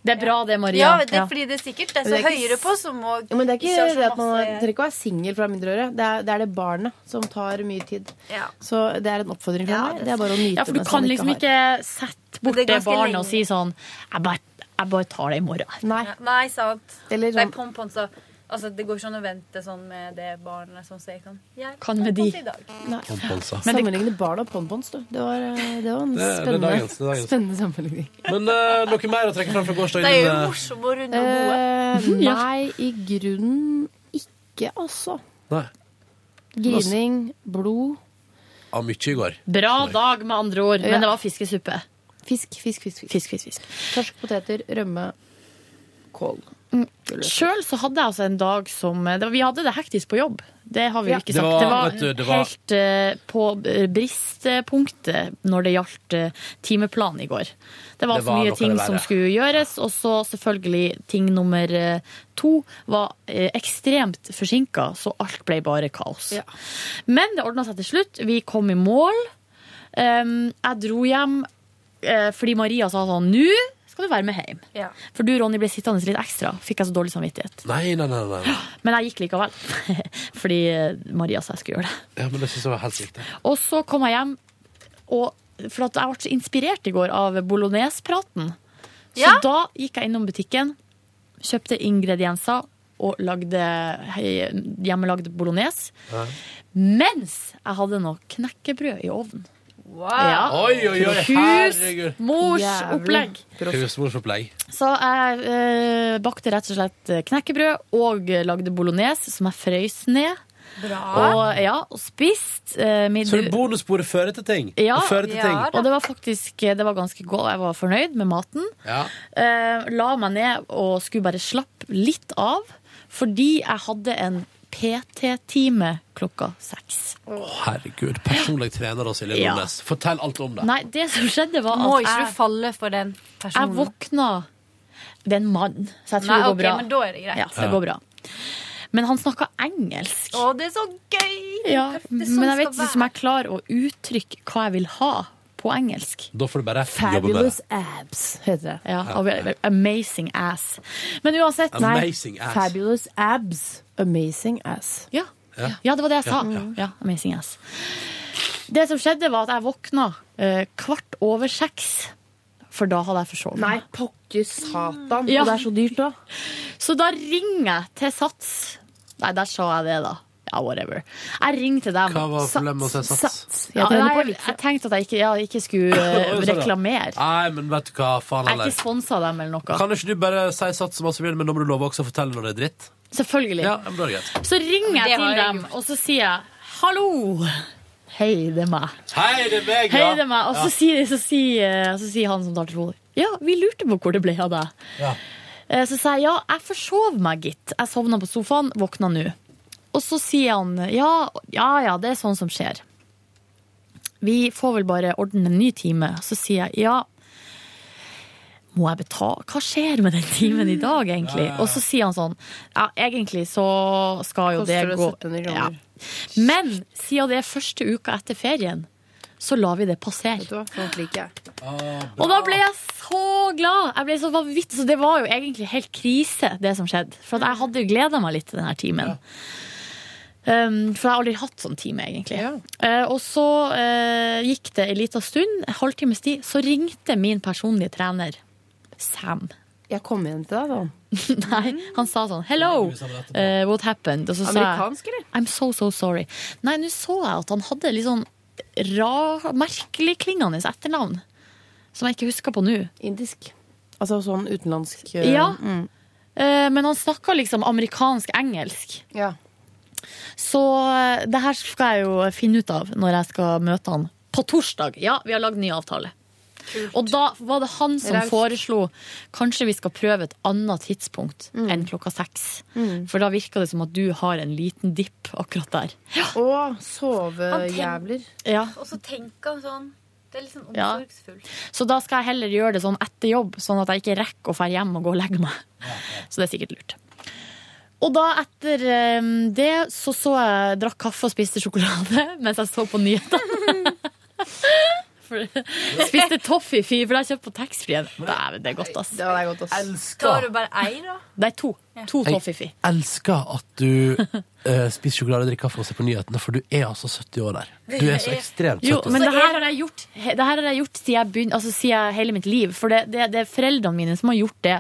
Det er bra det, Maria. Ja, men det, fordi det er sikkert det Men som det er ikke- høyere på, som må Ja, men det er ikke, har så det at man masse- er- trenger ikke å være singel fra mindre øre. Det er, det er det barnet som tar mye tid. Ja. Så det er en oppfordring fra meg. Det er bare å nyte Ja, for du mens kan man liksom har. ikke sette Men bort det det, er ganske barnet lenge. og si sånn jeg bare, jeg bare tar det i morgen. Nei. Nei, sant. Eller Nei, sånn- pomponser. Altså, det går ikke an å vente sånn med det barnet som sier sånn Jeg Kan med pompons de. i dag. Nei. Pomponsa. Sammenligne barn og pompons, du. Det var, eh, det var en Det- det er spennende, dagens, det er dagens. spennende sammenligning. Men eh, noe mer å trekke fram fra gårsdagen? eh, morsomme og runde og gode. Eh, Nei, i grunnen ikke, altså. Nei. Grining, blod Ja, mye i går. Bra dag, med andre ord. Ja. Men det var fiskesuppe. Fisk, fisk, fisk. fisk. Fisk, fisk, fisk. Torsk, poteter, rømme, kål. Sjøl så hadde jeg altså en dag som det var, Vi hadde det hektisk på jobb. Det har vi Ja. jo ikke Det sagt. var- Det var, vet du, det var- helt eh, på eh, bristpunktet når det gjaldt eh, timeplan i går. Det var Det for var noe mye av ting det som verre. skulle gjøres, og så selvfølgelig ting nummer eh, to var eh, ekstremt forsinka, så alt ble bare kaos. Men det ordna seg til slutt. Vi kom i mål. Um, jeg dro hjem eh, fordi Maria sa sånn Nå skal du være med hjem. Ja. For du, Ronny, ble sittende litt ekstra. Fikk jeg så dårlig samvittighet. Nei, nei, nei. nei, nei. Men jeg gikk likevel. Fordi eh, Maria sa jeg skulle gjøre det. Ja, men det synes jeg var helt riktig. Og så kom jeg hjem, og, for at jeg ble så inspirert i går av bolognese-praten. Så da gikk jeg innom butikken, kjøpte ingredienser og lagde hei- hjemmelagd bolognese. Mens jeg hadde noe knekkebrød i ovnen. Wow. Oi, oi, oi, herregud. Husmors opplegg. Husmorsopplegg. Så jeg eh, bakte rett og slett knekkebrød og lagde bolognese, som jeg frøys ned. Og, ja, og spist. eh, middag- Så det bonussporet fører til ting. ja, Det fører til ting. og det var faktisk eh, det var ganske godt. Jeg var fornøyd med maten. Ja. Eh, la meg ned og skulle bare slappe litt av, fordi jeg hadde en PT-time klokka seks. Herregud, personlig trener og Silje Ja. Nordnes. Fortell alt om det. Nei, det som skjedde, var Må at ikke jeg, du falle for den jeg personen? våkna Det er en mann, så jeg tror Nei, det går ok, bra. men da er det greit. Ja, det Ja. går bra. Men han snakka engelsk. Å, det er så gøy! Ja, Det er sånn men jeg skal vet ikke om jeg klarer å uttrykke hva jeg vil ha på engelsk. Da får du bare jobbe med Fabulous det. abs, heter det. Ja, av- amazing ass. Men uansett nei. Amazing ass. Fabulous abs. Amazing ass. Ja. Ja, det var det jeg sa. Ja, Ja, ja. amazing ass. Det som skjedde, var at jeg våkna eh, kvart over seks. For da hadde jeg forsovet meg. Nei, pokker satan. Ja. Og det er så dyrt, da. Så da ringer jeg til Sats. Nei, der sa jeg det, da. Ja, whatever. Jeg ringer til dem. Hva var problemet med å si sats? Ja, Jeg tenkte nei, på jeg, jeg tenkte at jeg ikke, ja, ikke skulle eh, Oi, sorry. reklamere. Nei, men vet du hva, faen Jeg er heller. ikke sponsa dem eller noe. Kan ikke du bare si sats så masse du vil, men da må du love også å fortelle når det er dritt? Selvfølgelig. Ja, men da er det greit. Så ringer jeg Det har til jeg dem, og så sier jeg hallo. Hei, det er meg. Hei, det er meg, Hei, ja. det er meg. Og så, Ja. sier, så, sier, eh, så sier han som tar telefonen, ja, vi lurte på hvor det ble av deg. Ja. Eh, Så sa jeg ja, jeg forsov meg, gitt. Jeg sovna på sofaen, våkna nå. Og så sier han ja, ja, ja, det er sånn som skjer. vi får vel bare ordne en ny time. Så sier jeg ja, må jeg betale? Hva skjer med den timen i dag, egentlig? Og så sier han sånn, ja, egentlig så skal jo det Koster det gå 1700 kroner? ja. Men siden det er første uka etter ferien, så lar vi det passere. Sånt liker jeg. Og da ble jeg så glad! Jeg ble så vanvittig, så Det var jo egentlig helt krise, det som skjedde. For at jeg hadde jo gleda meg litt til denne timen. Um, for jeg har aldri hatt sånn time, egentlig. Eh, og så eh, gikk det en liten stund, en halvtimes tid, så ringte min personlige trener, Sam. Jeg kom igjen til deg, da. Nei, han sa sånn 'hello, eh, what happened?' Og så sa jeg Amerikansk, eller? I'm so, so sorry. Nei, nå så jeg at han hadde litt sånn ra, merkelig klingende etternavn. Som jeg ikke husker på nå. Indisk. Altså sånn utenlandsk eh, Ja. mm. Eh, Men han snakka liksom amerikansk-engelsk. Så eh, det her skal jeg jo finne ut av når jeg skal møte han på torsdag. Ja, vi har lagd ny avtale. Og da var det han som Raust. foreslo kanskje vi skal prøve et annet tidspunkt enn klokka seks. Mm. For da virker det som at du har en liten dipp akkurat der. Og Han tenk- sovejævler. Ja. Og så tenker han sånn Det er litt sånn Ja. omsorgsfullt. Så da skal jeg heller gjøre det sånn etter jobb, sånn at jeg ikke rekker å dra hjem og gå og legge meg. Så det er sikkert lurt. Og da etter eh, det så så jeg drakk kaffe og spiste sjokolade mens jeg så på nyhetene. For- spiste toffee fy, for det har jeg kjøpt på taxfree-en. Dæven, det er godt, ass. Det er godt, ass. Da har du bare ei, da. Nei, to. To toffee fy. elsker at du eh, spiser sjokolade, drikker kaffe og ser på nyhetene, for du er altså 70 år der. Du er så ekstremt 70 Jo, år. men det her, har jeg gjort, he- det her har jeg gjort siden, jeg begyn, altså, siden hele mitt liv. For det, det, det er foreldrene mine som har gjort det.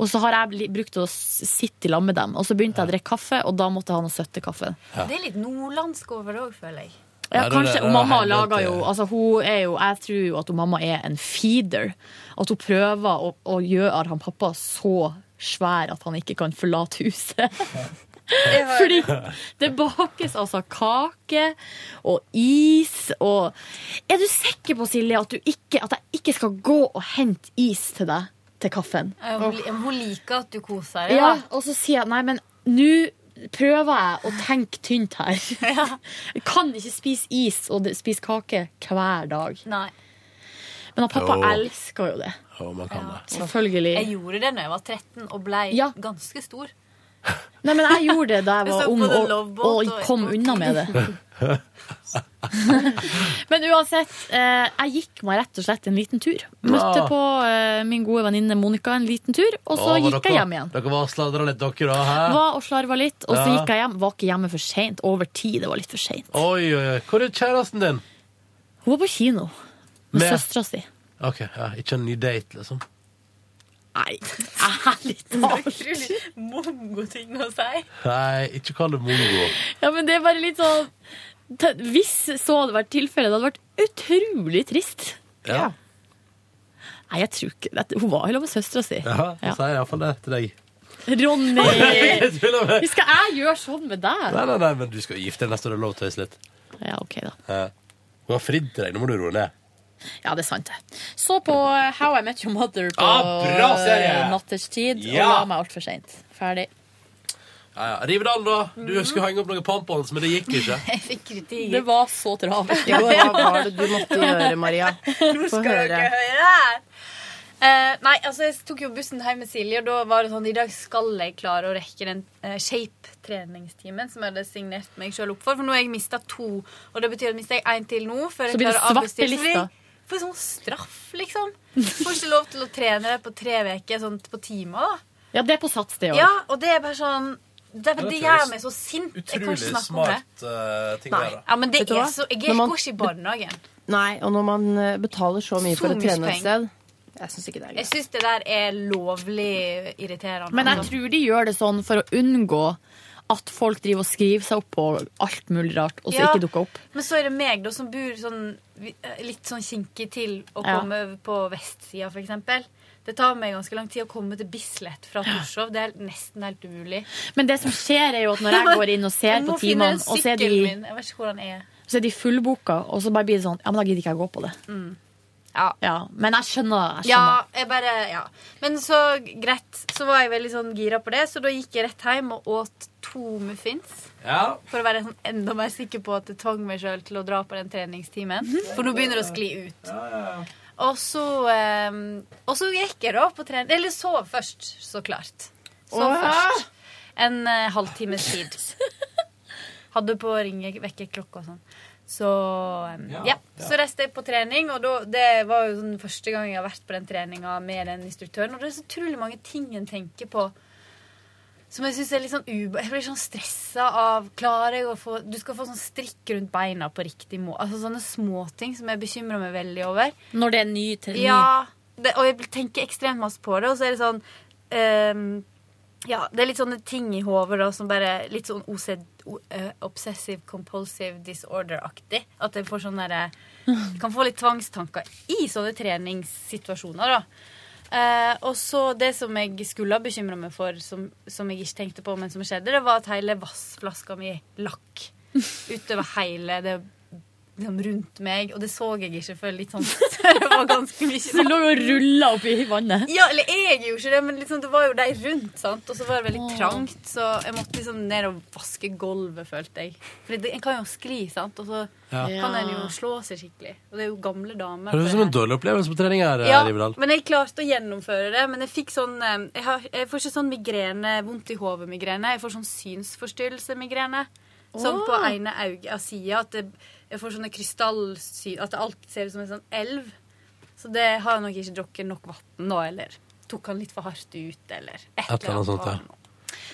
Og så har jeg bli- brukt å s- sitte i lag med dem. Og så begynte jeg å drikke kaffe, og da måtte jeg ha noe søttekaffe. Det er litt nordlandsk over det òg, føler jeg. Ja, Ja, det- kanskje, det- og det- mamma det- lager jo, altså hun er jo Jeg tror jo at hun mamma er en feeder. At hun prøver å, å gjøre han pappa så svær at han ikke kan forlate huset. Fordi det bakes altså kake og is og Er du sikker på, Silje, at, du ikke, at jeg ikke skal gå og hente is til deg til kaffen? Eh, Hun, li- hun liker at du koser deg. Ja, da. og så sier jeg nei, men nå prøver jeg å tenke tynt her. Jeg kan ikke spise is og de- spise kake hver dag. Men han pappa Jo. elsker jo det. Jo, man kan det. Selvfølgelig. Altså, Jeg gjorde det da jeg var 13 og ble ganske stor. Nei, men jeg gjorde det da jeg Jeg var så på ung The og, Love Boat og og- kom unna med det. Men uansett, eh, jeg gikk meg rett og slett en liten tur. Bra. Møtte på eh, min gode venninne Monica en liten tur, og så Å, var gikk dere- jeg hjem igjen. Dere var og sladra litt, dere da? Hæ? Var og slarva litt, og så Ja. gikk jeg hjem. Var ikke hjemme for seint. Over tid. Det var litt for seint. Oi, oi, oi. Hvor er kjæresten din? Hun var på kino med, Med- søstera si. Ok, ja, Ikke en ny date, liksom? Nei, ærlig talt. Mongo-ting å si. Nei, ikke kall det mongo. Ja, men det er bare litt sånn te- Hvis så hadde vært tilfellet, det hadde vært utrolig trist. Ja. Nei, jeg tror ikke det. Hun var jo sammen med søstera si. Ja, altså. jeg sier iallfall det til deg. Ronny! Jeg tuller med. Skal jeg gjøre sånn med deg? Nei, nei, nei, men du skal jo gifte deg neste år. Det er lov å tøyse litt. Ja, ok da. Ja. Hun har fridd til deg. Nå må du roe ned. Ja, det er sant, det. Så på eh, How I Met Your Mother på Ah, bra serie! eh, natterstid Ja! og la meg altfor seint. Ferdig. Ja, ja. Rivedal, da. Du skulle henge opp noen pompons, men det gikk ikke. Jeg fikk kritikk. Det var så travelt i Ja, går. hva var det du måtte gjøre, Maria? Nå Få skal dere høre. høre her. Eh, nei, altså Jeg tok jo bussen hjem med Silje, og da var det sånn I dag skal jeg klare å rekke den eh, shape-treningstimen som jeg hadde signert meg sjøl opp for. For nå har jeg mista to, og det betyr at mister jeg én til nå før Så jeg blir det klarer å svarte avbestille. Så blir jeg- lista. Får sånn straff, liksom. Får ikke lov til å trene på tre uker sånn på timer. da. Ja, det er på sats, det òg. Ja, og det er bare sånn Det, Ja, det det føles gjør meg så sint. Jeg kan ikke Utrolig snakke om det. smart eh, ting å Nei. gjøre. Ja, men det Vet du er hva? så Jeg Når man- går ikke i barnehagen. Nei, og når man eh, betaler så mye Så for å mye trene penger. et sted Jeg syns ikke det er Jeg syns det der er lovlig irriterende. Men jeg Altså. tror de gjør det sånn for å unngå at folk driver og skriver seg opp på alt mulig rart, og så Ja. ikke dukker opp. Men så er det meg, da, som bor sånn, vi- eh, litt sånn kinkig til å Ja. komme over på vestsida, f.eks. Det tar meg ganske lang tid å komme til Bislett fra Torshov. Det er nesten helt umulig. Men det som skjer, er jo at når jeg går inn og ser Jeg på må finne timene, og så er sykkelen de, min. Jeg vet ikke hvor den er. så er de fullboka, og så bare blir det sånn Ja, men da gidder ikke jeg gå på det. Mm. Ja. Men jeg skjønner. Jeg skjønner. Ja, jeg bare, ja. Men så greit, så var jeg veldig sånn gira på det, så da gikk jeg rett hjem og åt to muffins. Ja. For å være sånn enda mer sikker på at det tvang meg sjøl til å dra på den treningstimen. For nå begynner det å skli ut. Og så, eh, og så gikk jeg da på trening Eller sov først, så klart. Sov Åh! først. En eh, halvtimes tid. Hadde på ringe vekkerklokke og sånn. Så eh, Ja, ja. Så reiste jeg på trening, og da, det var jo sånn første gang jeg har vært på den treninga med den instruktøren. Og det er så utrolig mange ting en tenker på som jeg synes er litt sånn ube... Jeg blir sånn stressa av Klarer jeg å få Du skal få sånn strikk rundt beina på riktig måte. Altså sånne småting som jeg bekymrer meg veldig over. Når det er ny trening. Ja, det, og jeg tenker ekstremt masse på det. Og så er det sånn ehm, Ja, det er litt sånne ting i hodet da som bare Litt sånn OCD, o- eh, obsessive compulsive disorder-aktig. At jeg får sånn derre Kan få litt tvangstanker i sånne treningssituasjoner, da. Eh, og så det som jeg skulle ha bekymra meg for, som, som jeg ikke tenkte på, men som skjedde, det var at hele vassflaska mi lakk utover hele det liksom, rundt meg. Og det så jeg ikke før litt sånn Det var ganske mye Du lå jo og rulla oppi vannet. ja, eller jeg gjorde ikke det, men liksom, det var jo de rundt, sant? og så var det veldig Åh. trangt. Så jeg måtte liksom ned og vaske gulvet, følte jeg. For det- en kan jo skli, sant, og så Ja. kan en jo slå seg skikkelig. Og det er jo gamle damer. Høres ut som en dårlig opplevelse på trening her, eh, Ja, Riverdal. men jeg klarte å gjennomføre det. Men jeg fikk sånn eh, Jeg, har, jeg får ikke sånn migrene, vondt i hodet-migrene. Jeg får sånn synsforstyrrelse-migrene. Sånn på Åh. ene auge av sida. At jeg, jeg får sånne krystallsyn At alt ser ut som en sånn elv. Så det har jeg nok ikke drukket nok vann nå, eller tok han litt for hardt ut, eller et Et eller annet sånt, ja.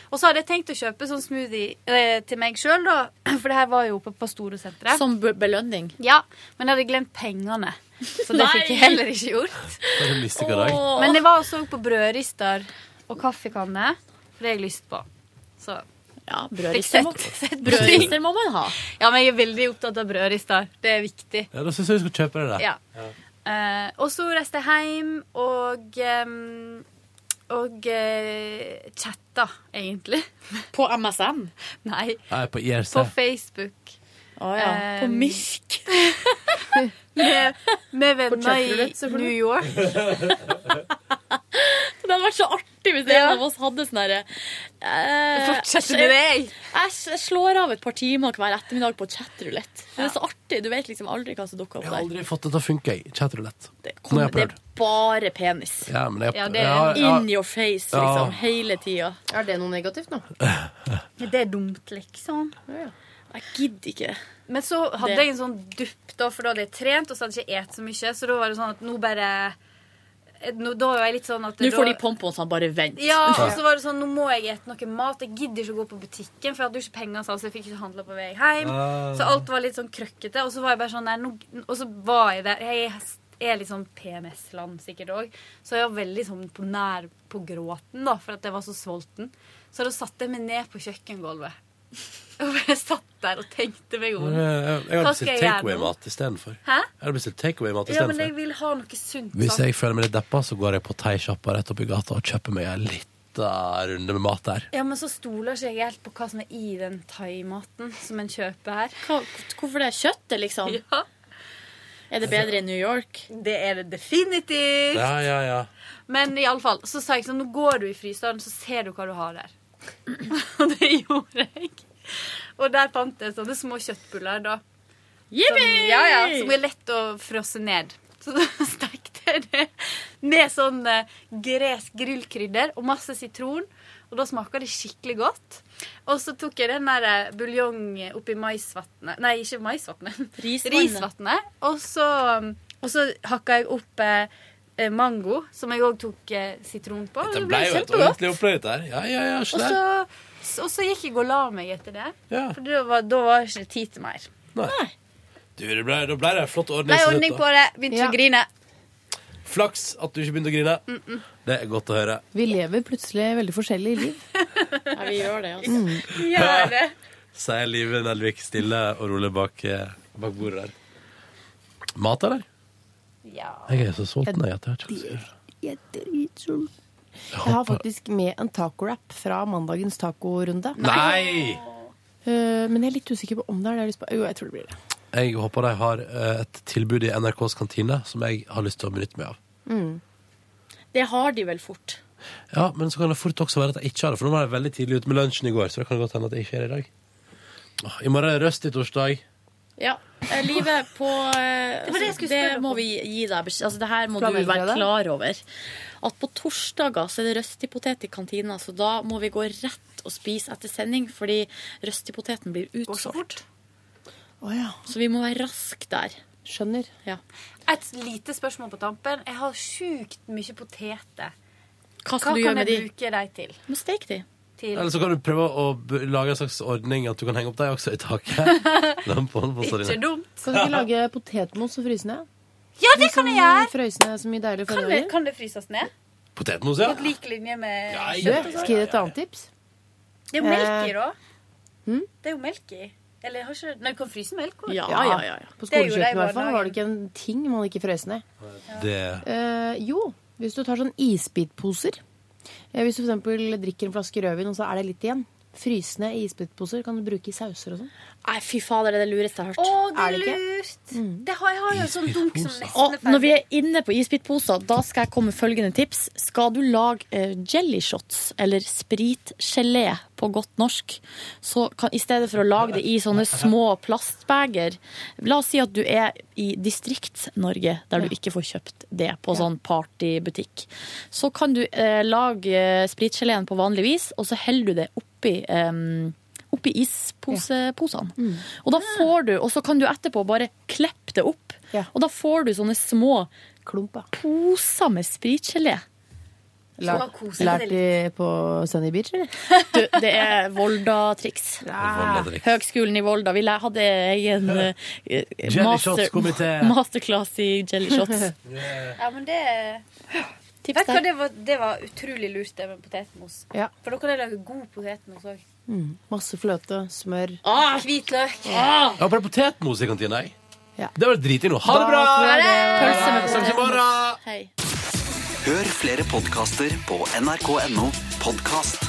Og så hadde jeg tenkt å kjøpe sånn smoothie eh, til meg sjøl, da. For det her var jo oppe på Storosenteret. Som be- belønning. Ja, men jeg hadde glemt pengene. Så det fikk jeg Nei. heller ikke gjort. Det er en mystikk av dag. Men jeg var og så på brødrister og kaffekanne, for det har jeg lyst på. Så ja, sett, brødrister må- sett brødrister må man ha. Ja, men jeg er veldig opptatt av brødrister. Det er viktig. Ja, da syns jeg vi skal kjøpe det der. Ja. Eh, og så reiste jeg hjem og ehm, og eh, chatta, egentlig. På MSN? Nei, Jeg er på IRC. på Facebook. ja. På Ehm, Mirk. med, med venner i chatroulette, selvfølgelig. New York. Det hadde vært så artig hvis en av oss hadde sånn derre eh, Fortsett jeg- med deg. Jeg s- jeg slår av et par timer hver ettermiddag på chatrulett. Det er så artig. Du vet liksom aldri hva som dukker Jeg har opp der. aldri fått det til å funke, jeg. Chatrulett. Nå har Kom, jeg det er prøvd. bare penis. Ja, men jeg- Ja, det er ja, ja. in your face, Ja. liksom. Hele tida. Er det noe negativt nå? Det er dumt, liksom. Jeg gidder ikke. Men så hadde Det- jeg en sånn dupp, da, for da hadde jeg trent, og så hadde jeg ikke et så mye. Så da var det sånn at nå bare eh, nå, Da var jeg litt sånn at Nå får da- de pomponsene bare vent. Ja, og så var det sånn, nå må jeg ete noe mat. Jeg gidder ikke å gå på butikken, for jeg hadde jo ikke penger, så jeg fikk ikke handla på vei hjem. Ah. Så alt var litt sånn krøkkete. Og så var jeg bare sånn, nei, nå, og så var jeg der. Jeg er litt sånn PMS-land sikkert òg, så jeg var veldig sånn på nær på gråten da, for at jeg var så sulten. Så da satte jeg meg ned på kjøkkengulvet. Og bare satt der og tenkte meg om. Men, eh, Jeg har Hva bestilt skal jeg gjøre nå? takeaway-mat istedenfor. Hæ? Jeg har bestilt takeaway-mat Ja, men jeg istedenfor. vil ha noe sunt. Hvis sant? jeg føler meg litt deppa, så går jeg på Theisjappa rett oppi gata og kjøper meg en liten runde med mat der. Ja, men så stoler ikke jeg helt på hva som er i den thaimaten som en kjøper her. hvorfor det er kjøttet, liksom? Ja. Er det bedre i New York? Det er det definitivt. Ja, ja, ja. Men i alle fall, så sa jeg sånn, nå går du i fryseren, så ser du hva du har der. Og det gjorde jeg. Og der fant jeg sånne små kjøttbuller da. Som, Yippee! ja, ja, som er lett å frosse ned. Så da stekte jeg det med sånn eh, gresk grillkrydder og masse sitron. Og da smaker det skikkelig godt. Og så tok jeg den der eh, buljong oppi maisvatnet Nei, ikke maisvatnet. Risvatnet. Risvatnet. Og så, og så hakka jeg opp eh, eh, mango, som jeg òg tok eh, sitron på. Det ble jo et kjempegodt. ordentlig opplegg der. Ja, ja, ja, Og skjønner. så, så- og så gikk jeg og la meg etter det. Ja. For da var, da var ikke det tid til mer. Du, det ble, da ble det en flott ordning. Ble som ordning dette. på det. Begynte å grine. Flaks at du ikke begynte å grine. Mm, Det er godt å høre. Vi lever plutselig veldig forskjellige liv. Ja, vi gjør det, altså. Mm. Gjør det. Sier Live Nelvik stille og rolig bak, eh, bak bordet der. Mat, eller? Ja. Jeg er så sulten, jeg. at jeg vet ikke hva jeg skal gjøre. Jeg er dritsulten. Jeg har faktisk med en taco-wrap fra mandagens tacorunde. Nei! Eh, men jeg er litt usikker på om det er det jeg har lyst på. Jo, jeg tror det blir det. Jeg håper de har eh, et tilbud i NRKs kantine som jeg har lyst til å benytte meg av. Det har de vel fort. Ja, men så kan det fort også være at jeg ikke har det, for nå var jeg veldig tidlig ute med lunsjen i går, så det kan godt hende at jeg ikke er det i dag. Åh, I morgen er det røst i torsdag. Ja. eh, Livet på eh, Det var det jeg altså, skulle Det spørre om. må vi gi deg beskjed altså, Det her må du Planlegger dere være det? klar over. At på torsdager så er det røstipotet i kantina, så da må vi gå rett og spise etter sending, fordi røstipoteten blir utsolgt. Så vi må være rask der. Skjønner. Ja. Et lite spørsmål på tampen. Jeg har sjukt mye poteter. Hva kan skal du gjøre med de? jeg bruke dem til? Du må steke de. til? Eller så kan du prøve å b- lage en slags ordning at du kan henge opp deg også i taket. Lampene Ikke dumt. Kan du ikke lage potetmos Sånn og fryse ned? Ja, det kan jeg gjøre! Frøyse ned så mye deilig Kan forrige det, kan det fryses ned? Potetmos, ja. På et lik linje med Du, skal jeg gi deg et annet tips? Det er jo melk i, da. Hmm? Det er jo melk i. Eller har ikke Nei, du kan fryse melk også. På Det gjorde jeg skolekjøkkenet i hvert fall barnehagen. var det ikke en ting man ikke frøs ned. Det Eh, jo, hvis du tar sånn isbitposer. Eh, hvis du for eksempel drikker en flaske rødvin, og så er det litt igjen. Frysende isbitposer kan du bruke i sauser og sånn. Nei, fy fader, det er det lureste jeg har hørt. Å, Er det er det ikke? lurt! Det har, jeg har jo en sånn dunk som nesten Og når vi er inne på isbitposer, da skal jeg komme med følgende tips. Skal du lage eh, jelly shots, eller spritgelé på godt norsk, så kan, i stedet for å lage det i sånne små plastbeger La oss si at du er i Distrikts-Norge, der du ikke får kjøpt det på sånn partybutikk. Så kan du eh, lage eh, spritgeleen på vanlig vis, og så heller du det oppi eh, oppi isposene. Og da får du, og så kan du etterpå bare kleppe det opp. Og da får du sånne små poser med spritgelé. Lært, lært de på Sunny Beach, eller? Du, det er Volda-triks. Volda-triks. Høgskolen i Volda. Vi lær- hadde egen eh, eh, Jelly shots-komité. masterclass i jelly shots. Ja, men det Vet du hva, det var, det var utrolig lurt, det med potetmos. Ja. For da kan jeg lage god potetmos òg. Mm. Masse fløte, smør. Hvitløk. Jeg har bare potetmos i kantina, jeg. Ja. Det var driting nå. Ha det bra! Pølse med Snakkes i morgen! Hei. Hør flere podkaster på nrk.no podkast.